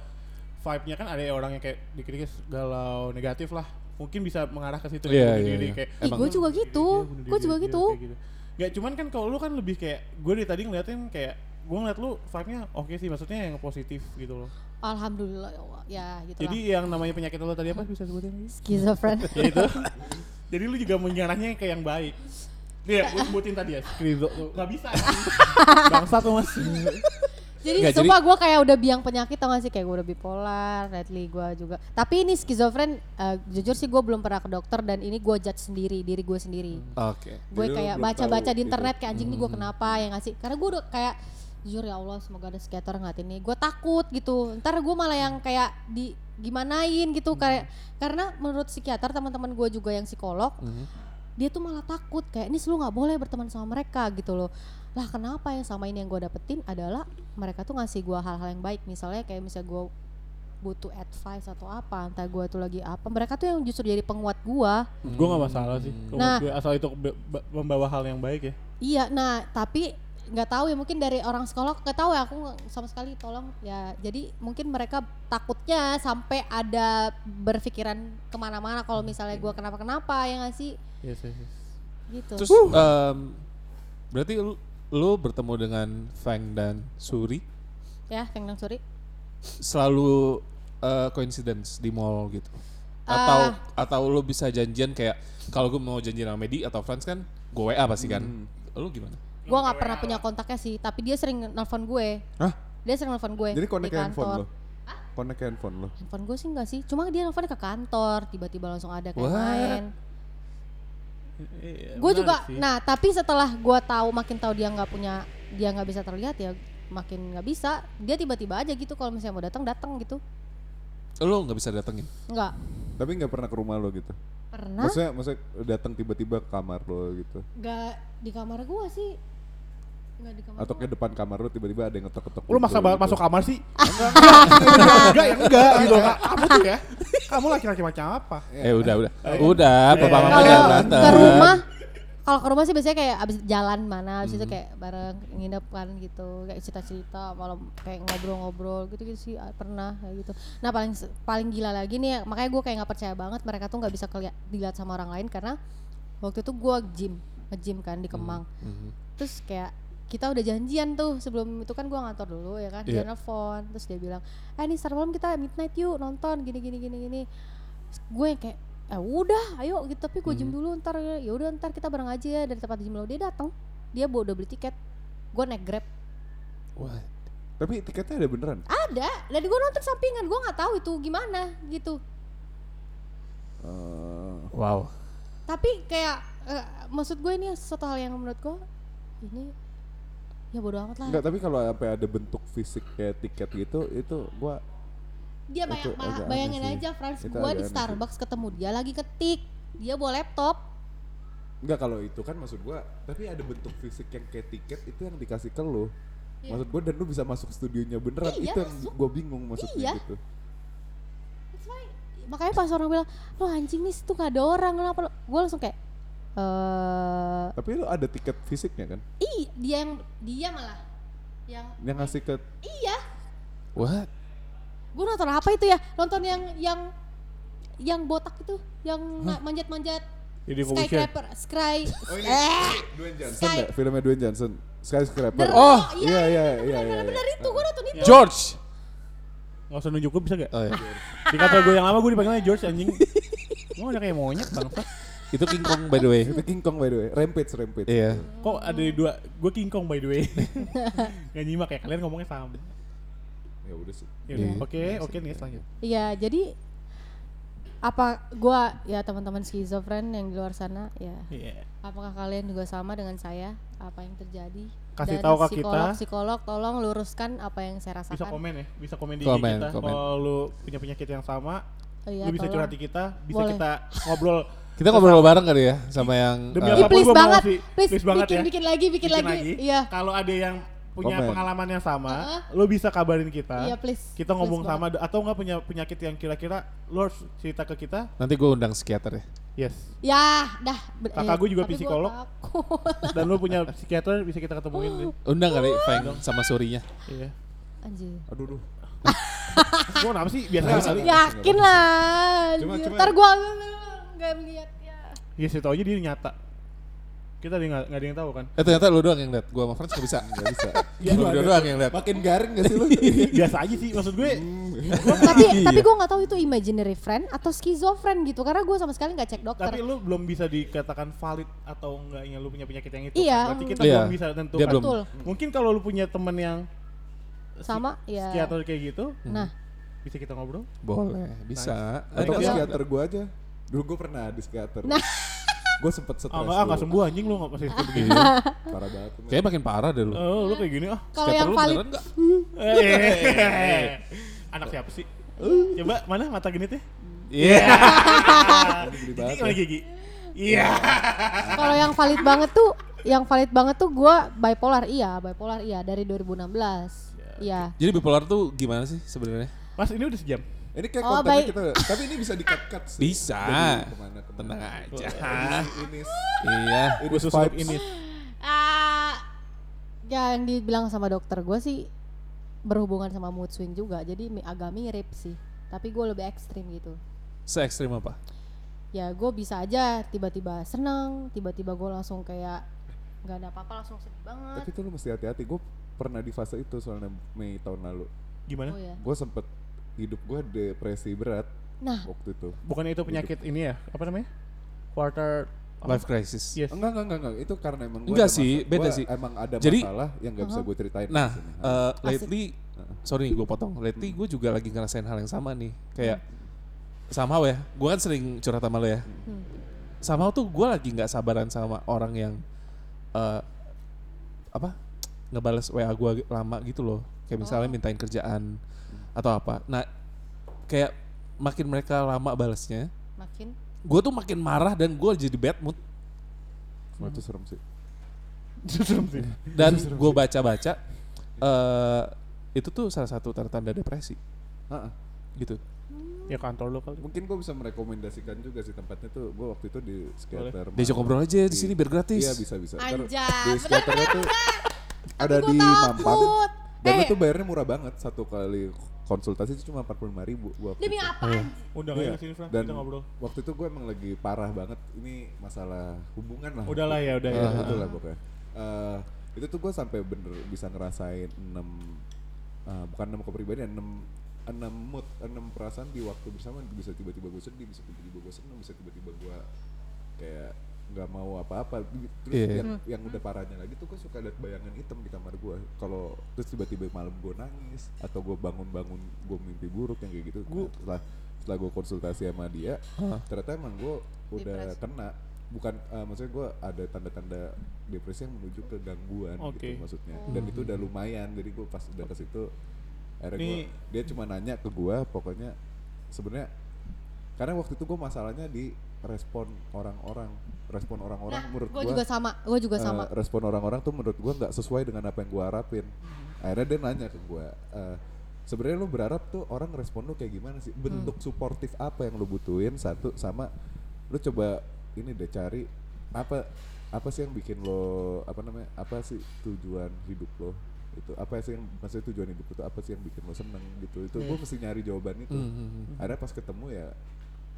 vibe-nya kan ada ya orang yang kayak dikit-dikit galau negatif lah. Mungkin bisa mengarah ke situ Iya, bunuh iya, diri, iya. kayak iya, Ih, Emang- gue juga gitu, bunuh gue diri, juga dia gitu. kayak Nggak, cuman kan kalau lu kan lebih kayak gue dari tadi ngeliatin kayak gue ngeliat lu vibe-nya oke sih, maksudnya yang positif gitu loh. Alhamdulillah ya Allah, ya gitu Jadi lah. yang namanya penyakit lu tadi apa bisa sebutin? lagi? Skizofren. ya itu. Jadi lu juga mengarahnya ke yang baik. Iya, gue sebutin tadi ya, skrizo. Gak bisa. Bangsa tuh mas. jadi Nggak, jadi- sumpah gue kayak udah biang penyakit tau gak sih kayak gue udah bipolar, lately gue juga. Tapi ini skizofren, eh, jujur sih gue belum pernah ke dokter dan ini gue judge sendiri diri gue sendiri. Oke. gue Jadi lu kayak Iya, belum baca-baca tahu di gitu. internet kayak anjing ini gue kenapa yang ngasih karena gue udah kayak jujur ya Allah semoga ada psikiater ngeliat ini gue takut gitu ntar gue malah yang kayak di gimanain gitu Hmm. kayak karena menurut psikiater teman-teman gue juga yang psikolog Hmm. dia tuh malah takut kayak ini lu nggak boleh berteman sama mereka gitu loh lah kenapa ya sama ini yang gue dapetin adalah mereka tuh ngasih gue hal-hal yang baik misalnya kayak misalnya gue butuh advice atau apa entah gue tuh lagi apa mereka tuh yang justru jadi penguat gue gue gak masalah sih. Kalau Nah. gue asal itu be- be- membawa hal yang baik ya. Iya, nah tapi nggak tahu ya mungkin dari orang psikolog nggak tahu ya aku nggak- sama sekali tolong ya jadi mungkin mereka takutnya sampai ada berpikiran kemana-mana kalau misalnya gua kenapa-kenapa ya nggak sih Yes, yes, yes. gitu Terus em, Berarti lu, lu bertemu dengan Fang dan Suri ya Feng Dang Suri. selalu eh, coincidence di mall gitu. Atau Ah. atau lu bisa janjian kayak kalau gue mau janjian sama Medi atau Franz kan gue WA pasti kan. Lu gimana? Gue nggak pernah punya kontaknya sih, tapi dia sering nelfon gue. Hah? Dia sering nelfon gue. Jadi di connect ke handphone kantor. lo? Connect ke handphone lo? Handphone gue sih enggak sih, cuma dia nelfon ke kantor, tiba-tiba langsung ada kayak What? main. Gue juga, nah tapi setelah gue tahu makin tahu dia nggak punya, dia nggak bisa terlihat ya, makin nggak bisa. Dia tiba-tiba aja gitu kalau misalnya mau datang datang gitu, Lu nggak bisa datengin. nggak Tapi nggak pernah ke rumah lo gitu? pernah. Maksudnya, maksudnya datang tiba-tiba ke kamar lo gitu? Nggak di kamar gue sih, nggak di kamar. Atau ke depan kamar lo tiba-tiba ada yang ngetok-ngetok Lu pintu maksa banget gitu. masuk kamar sih? Enggak, ya enggak, yang enggak gitu. Kamu tuh ya, kamu laki-laki macam apa? Eh udah udah. Udah, papa mama jangan Kalau berantem. ke rumah, Hmm. kalau ke rumah sih biasanya kayak abis jalan mana, abis itu kayak bareng nginep kan gitu, kayak cerita-cerita, malam kayak ngobrol-ngobrol gitu-gitu sih ah, pernah kayak gitu. Nah paling paling gila lagi nih, ya, makanya gue kayak nggak percaya banget mereka tuh nggak bisa keliat, dilihat sama orang lain karena waktu itu gue gym, nge-gym kan di Kemang, Mhm. terus kayak kita udah janjian tuh sebelum itu kan gue ngantor dulu ya kan dia Iya. nelfon terus dia bilang eh nih star malam kita midnight yuk nonton gini gini gini gini Terus gue yang kayak eh udah ayo gitu tapi gue gym dulu ntar ya udah ntar kita bareng aja ya dari tempat gym lo dia datang dia bawa udah beli tiket gue naik grab Wah, Tapi tiketnya ada beneran? ada dan gue nonton sampingan gue nggak tahu itu gimana gitu Eh, Wow. tapi kayak eh, maksud gue ini satu hal yang menurut gue ini ya bodo amat lah Enggak, tapi kalau sampai ada bentuk fisik kayak tiket gitu, itu gua dia bayang, Itu agak aneh bayangin sih. aja Frans Itu gue agak di aneh sih. Starbucks ketemu dia lagi ketik dia bawa laptop Enggak kalau itu kan maksud gua, tapi ada bentuk fisik yang kayak tiket itu yang dikasih ke lu. Maksud gua dan lu bisa masuk studionya beneran. Iya, itu yang masuk. gua bingung maksudnya Iya. gitu. makanya pas orang bilang lo anjing nih situ gak ada orang kenapa gue langsung kayak eh Tapi lu ada tiket fisiknya kan? ih dia yang dia malah yang Yang ngasih ke iya What? gue nonton apa itu ya nonton yang yang yang botak itu yang na- manjat-manjat Jadi skyscraper sky eh, Johnson Dwayne Johnson Sky- nggak? Filmnya Dwayne Johnson. The Skyscraper. Rock. Oh, iya iya iya iya. bener-bener itu gue nonton itu George. Nggak usah nunjuk gue bisa gak? Oh ya. Di kantor gue yang lama gue dipanggilnya George anjing. Mau ada kayak monyet bangsa. Itu King Kong by the way. iya. Itu King Kong by the way, Rampage Rampage. Iya. Kok ada dua, gue King Kong by the way. Gak nyimak ya, kalian ngomongnya sama. Ya udah sih. Ya udah, Iya. Oke, oke nih lanjut. Iya, jadi apa gua ya teman-teman skizofren yang di luar sana ya Iya. apakah kalian juga sama dengan saya apa yang terjadi Kasih Dan tahu ke psikolog, kita. psikolog tolong luruskan apa yang saya Bisa rasakan komen ya, bisa komen di Komen, IG kita. komen. Kalau lu punya penyakit yang sama, Oh iya, lu bisa tolong. curhati kita, bisa Boleh. kita ngobrol. Kita ngobrol bareng kali ya sama yang Demi eh, Ih, apapun please gua mau banget, sih, please, please banget bikin, ya. bikin lagi, bikin, lagi. Iya, Kalau ada yang punya Komen. pengalaman yang sama, Heeh. lu bisa kabarin kita. Iya, please. Kita ngomong Please sama atau nggak punya penyakit yang kira-kira lu harus cerita ke kita? nanti gue undang psikiater ya. Yes. ya dah. Be- Kakak eh, gua juga tapi gua psikolog. takut. Dan lu punya psikiater bisa kita ketemuin deh. Undang kali Feng sama Surinya. Iya. Anjir. Aduh duh. Gua kenapa sih biasa kali. Yakin lah. Cuma- anjir. cuma- Ntar gua nggak melihat ya. Ya situ aja dia nyata. Kita dia nggak nggak ada yang tahu kan. Eh ternyata lu doang yang liat. Gue sama Franz gak bisa. Gak bisa. Lu Gimana? doang yang liat. Iya. Makin garing gak sih lu? biasa aja sih maksud gue. tapi tapi gue nggak tahu itu imaginary friend atau schizofren gitu karena gue sama sekali nggak cek dokter. Tapi lu belum bisa dikatakan valid atau enggaknya lu punya penyakit yang itu. Iya. kan? Berarti kita Iya. belum bisa tentukan. Dia belum. Betul. Mungkin kalau lu punya temen yang Sama ya. psikiater kayak gitu, Hmm. Nah, bisa kita ngobrol. Boleh, bisa. Ada Atau ke nggak? psikiater gua aja. Dulu gua pernah di psikiater. Nah. Gua sempet stres Ah Oh, enggak, ah, enggak dulu. sembuh anjing lu enggak masih kayak begini. Iya. Parah banget. men. Kayaknya makin parah deh lu. Oh, lu kayak gini ah. kalau Psikiater yang lu valid beneran nggak? Eh, Anak siapa sih? Coba mana mata genitnya? Iya. ya. Geli Gigi banget. mana gigi? Iya. kalau yang valid banget tuh yang valid banget tuh gue bipolar iya bipolar iya dari 2016 iya Jadi bipolar tuh gimana sih sebenarnya? Mas ini udah sejam. Ini kayak Oh, kontennya baik. kita, tapi ini bisa di cut cut sih. Bisa. Dari kemana kemana. Tenang aja. Ini iya. ini Khusus untuk vibes. ini. Ah, ya yang dibilang sama dokter gue sih berhubungan sama mood swing juga jadi mi- agak mirip sih tapi gue lebih ekstrim gitu Se ekstrim apa? ya gue bisa aja tiba-tiba seneng tiba-tiba gue langsung kayak nggak ada apa-apa langsung sedih banget. Tapi tuh lu mesti hati-hati. Gue pernah di fase itu soalnya Mei tahun lalu. Gimana? Oh ya. Gue sempet hidup gue depresi berat Nah, waktu itu. Bukannya itu penyakit ini ya? Apa namanya? Quarter Life crisis. Yes. Enggak, enggak, enggak, enggak. Itu karena emang gua Enggak ada sih, masa- beda gua sih. Emang ada Jadi- masalah yang gak Uh-huh. bisa gue ceritain. di Nah, sini. eh, lately, sorry gue potong. Lately gue juga lagi ngerasain hal yang sama nih. Kayak somehow ya, gue kan sering curhat sama lo ya. Somehow tuh gue lagi nggak sabaran sama orang yang eh, apa ngebales WA gue lama gitu loh. Kayak misalnya mintain kerjaan atau apa. Nah, kayak makin mereka lama balesnya, makin gue tuh makin marah dan gue jadi bad mood. Cuma itu serem sih. Serem sih. Dan gue baca-baca, eh itu tuh salah satu tanda-tanda depresi Heeh. gitu. ya kantor lo kali. Mungkin gue bisa merekomendasikan juga sih tempatnya tuh. Gue waktu itu di skater. Diajak ngobrol aja di sini biar gratis. Iya bisa bisa. Ntar Anjay, Di skaternya tuh ada di Mampang. takut. Dan Eh. itu bayarnya murah banget satu kali konsultasi itu cuma 45 ribu. Waktu Demi itu. apa anjing? Udah Iya. aja Iya. sini Fran, Dan kita ngobrol. waktu itu gue emang lagi parah banget. Ini masalah hubungan lah. Udahlah ya, udah ya. Iya, itulah pokoknya. Eh, itu tuh gue sampai bener bisa ngerasain 6 bukan 6 kepribadian, 6 enam mood, enam perasaan di waktu bersama bisa tiba-tiba gue sedih, bisa tiba-tiba gue seneng, bisa tiba-tiba gue kayak nggak mau apa-apa. Terus Iya. yang, Hmm. yang udah parahnya lagi tuh gue suka liat bayangan hitam di kamar gue. Kalau terus tiba-tiba malam gue nangis atau gue bangun-bangun gue mimpi buruk yang kayak gitu. Nah, setelah setelah gue konsultasi sama dia, ternyata emang gue udah kena bukan eh, maksudnya gue ada tanda-tanda depresi yang menuju ke gangguan Oke. gitu maksudnya dan itu udah lumayan jadi gue pas udah ke situ akhirnya Ini- gua, dia cuma nanya ke gue pokoknya sebenarnya karena waktu itu gue masalahnya di respon orang-orang respon orang-orang menurut gue gue Nah, juga sama, gue juga sama. Eh, respon orang-orang tuh menurut gua nggak sesuai dengan apa yang gua harapin. Akhirnya dia nanya ke gua, eh, sebenarnya lu berharap tuh orang respon lu kayak gimana sih? Bentuk Hmm. suportif apa yang lu butuhin? Satu sama lu coba ini deh cari apa apa sih yang bikin lo apa namanya? Apa sih tujuan hidup lo? itu apa sih yang maksudnya tujuan hidup itu apa sih yang bikin lo seneng gitu Iya. itu gua mesti nyari jawaban itu Hmm. Hmm, ada pas ketemu ya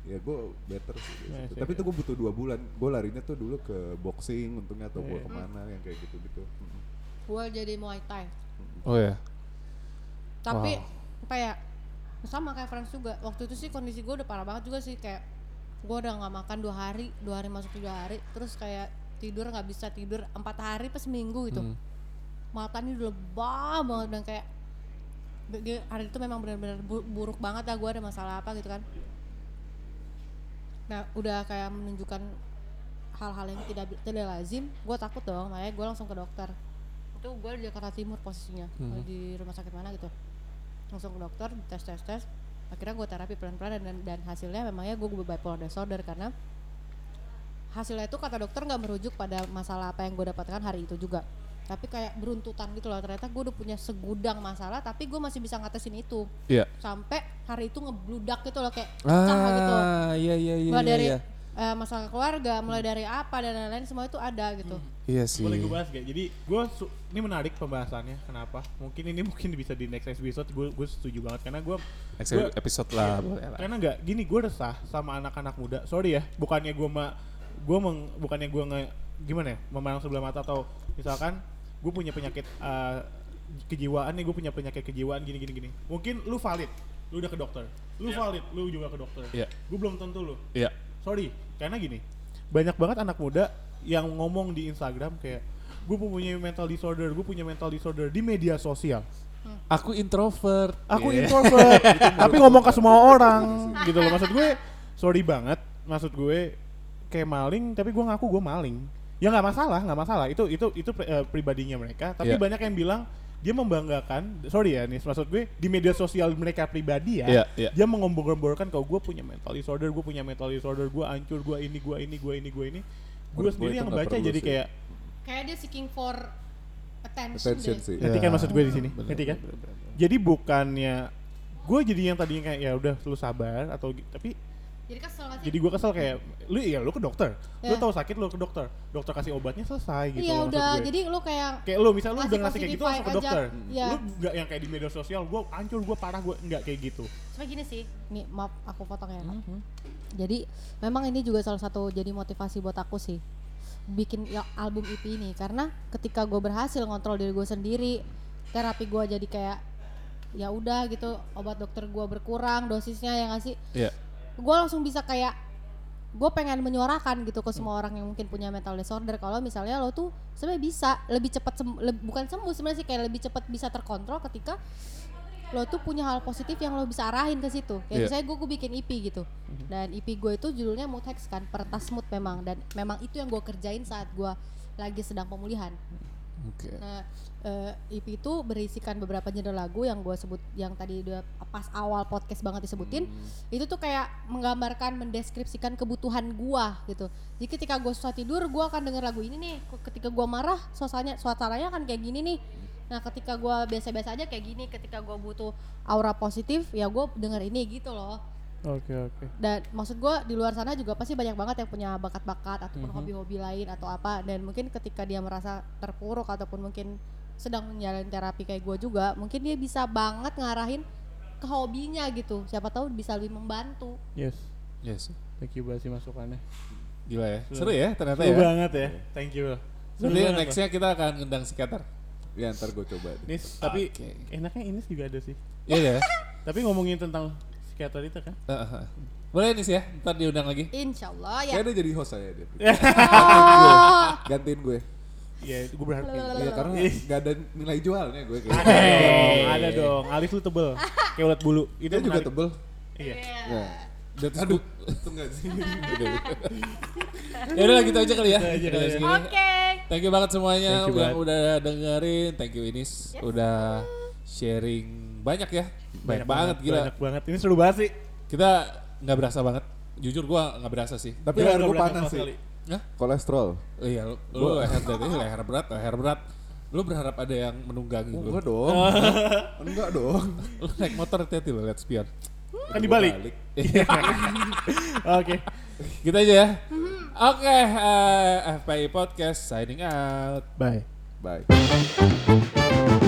ya gue better sih Iya, sih. tapi itu gue butuh dua bulan gue larinya tuh dulu ke boxing untungnya Iya, atau gue kemana yang kayak gitu gitu Gue jadi Muay Thai. Oh iya. ya. Tapi apa ya? Sama kayak Frans juga. Waktu itu sih kondisi gue udah parah banget juga sih kayak gue udah nggak makan dua hari, dua hari masuk tiga hari, terus kayak tidur nggak bisa tidur empat hari pas seminggu gitu. Mata ini udah lebah banget dan kayak be- ge- hari itu memang benar-benar bu- buruk banget lah gue ada masalah apa gitu kan. Nah udah kayak menunjukkan hal-hal yang tidak tidak lazim, gue takut dong, makanya gue langsung ke dokter itu gue di Jakarta Timur posisinya di rumah sakit mana gitu langsung ke dokter tes tes tes akhirnya gue terapi pelan pelan dan dan hasilnya memangnya gue bipolar disorder karena hasilnya itu kata dokter nggak merujuk pada masalah apa yang gue dapatkan hari itu juga tapi kayak beruntutan gitu loh ternyata gue udah punya segudang masalah tapi gue masih bisa ngatasin itu Iya. sampai hari itu ngebludak gitu loh kayak pecah gitu Ah, iya iya iya. mulai iya, dari iya. eh, masalah keluarga mulai dari apa dan lain-lain semua itu ada gitu Iya sih. Boleh gue bahas gak? Jadi gue su- ini menarik pembahasannya. Kenapa? Mungkin ini mungkin bisa di next episode. Gue gue setuju banget karena gue Next episode lah, Iya. boleh lah. karena nggak gini gue resah sama anak-anak muda. Sorry ya, bukannya gue ma gue meng bukannya gue nge gimana ya memandang sebelah mata atau misalkan gue punya penyakit eh, kejiwaan nih gue punya penyakit kejiwaan gini gini gini. Mungkin lu valid, lu udah ke dokter, lu valid, lu juga ke dokter. Iya. Gue belum tentu lu Iya. sorry karena gini banyak banget anak muda yang ngomong di Instagram kayak gue punya mental disorder gue punya mental disorder di media sosial Aku introvert. Iya. aku introvert tapi ngomong ke semua orang gitu loh maksud gue sorry banget maksud gue kayak maling tapi gue ngaku gue maling ya nggak masalah nggak masalah itu itu itu pri- eh, pribadinya mereka tapi Iya. banyak yang bilang dia membanggakan sorry ya nih maksud gue di media sosial mereka pribadi ya Iya, iya. dia mengombor-omborkan kalau gue punya mental disorder gue punya mental disorder gue hancur gue ini gue ini gue ini gue ini gue Menurut gue sendiri itu yang nggak baca perlu jadi sih. kayak kayak dia seeking for attention, attention deh. sih Ngerti kan Ya. maksud gue di sini? Bener, Ngerti kan? bener, bener, bener. Jadi bukannya gue jadi yang tadinya kayak ya udah lu sabar atau gi- tapi jadi kesel gak sih? jadi gue kesel kayak lu ya lu ke dokter. Lu Ya. tahu sakit lu ke dokter. Dokter kasih obatnya selesai gitu. iya loh maksud udah gue. jadi lu kayak kayak lu misal lu Ngasih udah ngasih kayak gitu langsung ke positify aja. dokter. Iya. Lu nggak yang kayak di media sosial gue hancur gue parah gue nggak kayak gitu. Cuma gini sih, nih maaf aku potong ya Kak. jadi memang ini juga salah satu jadi motivasi buat aku sih bikin ya- album EP ini karena ketika gue berhasil ngontrol diri gue sendiri terapi gue jadi kayak ya udah gitu obat dokter gue berkurang dosisnya ya nggak sih Iya. gue langsung bisa kayak gue pengen menyuarakan gitu ke semua orang yang mungkin punya mental disorder kalau misalnya lo tuh sebenarnya bisa lebih cepat sem- le- bukan sembuh sebenarnya sih kayak lebih cepat bisa terkontrol ketika lo tuh punya hal positif yang lo bisa arahin ke situ Iya. kayak misalnya gue bikin EP gitu dan EP gue itu judulnya mood hacks kan peretas mood memang dan memang itu yang gue kerjain saat gue lagi sedang pemulihan Oke. Nah, eh, EP itu berisikan beberapa genre lagu yang gue sebut yang tadi udah pas awal podcast banget disebutin. Itu tuh kayak menggambarkan, mendeskripsikan kebutuhan gua gitu. Jadi ketika gue susah tidur, gua akan denger lagu ini nih. Ketika gua marah, suasananya suasananya akan kayak gini nih. Nah, ketika gua biasa-biasa aja kayak gini, ketika gua butuh aura positif, ya gue denger ini gitu loh Oke oke. dan maksud gue di luar sana juga pasti banyak banget yang punya bakat-bakat ataupun hobi-hobi lain atau apa dan mungkin ketika dia merasa terpuruk ataupun mungkin sedang menjalani terapi kayak gue juga mungkin dia bisa banget ngarahin ke hobinya gitu siapa tahu bisa lebih membantu Yes. Yes. Thank you banget sih masukannya. Iya Gila ya. Seru ya ternyata Seru ya. banget ya. Thank you. Seru Nanti banget, nextnya kita akan ngundang psikiater. Ya ntar gue coba Bang. deh. Nis, tapi Oke. enaknya Ines juga ada sih. Iya ya. Tapi ngomongin tentang psikiater itu kan. Heeh, heeh. Boleh nih sih ya, ntar diundang lagi. insyaallah ya Kayaknya dia jadi host aja dia. Oh. Gantiin gue. Iya, gue berharap. kayak gitu. Iya karena Ih. gak ada nilai jualnya gue kayaknya. Ada dong, ada dong. Alis lu tebel, kayak ulat bulu. Itu Dia juga menarik. tebel. Iya. Ya. That's Aduh, good. itu enggak sih. Ya udah lah, gitu aja kali ya. Gitu aja Udah kali ya. segini. Oke. Thank you banget semuanya Thank you yang banget. udah dengerin. Thank you Inis udah sharing banyak ya. Banyak, banget gila. Banyak banget. Ini seru banget sih. Kita nggak berasa banget. Jujur gua nggak berasa sih. Tapi Gua leher nggak gue berani panas sama sih. sekali. Hah? Kolesterol. Oh iya, lu, lu leher dari leher berat, leher berat. Lu berharap ada yang menunggangi lu. Oh, Enggak dong. Enggak dong. Lu naik motor hati-hati lu lihat spion. Kan dibalik. Balik. Oke. Gitu aja ya. Oke, eh, FPI Podcast signing out. Bye. Bye.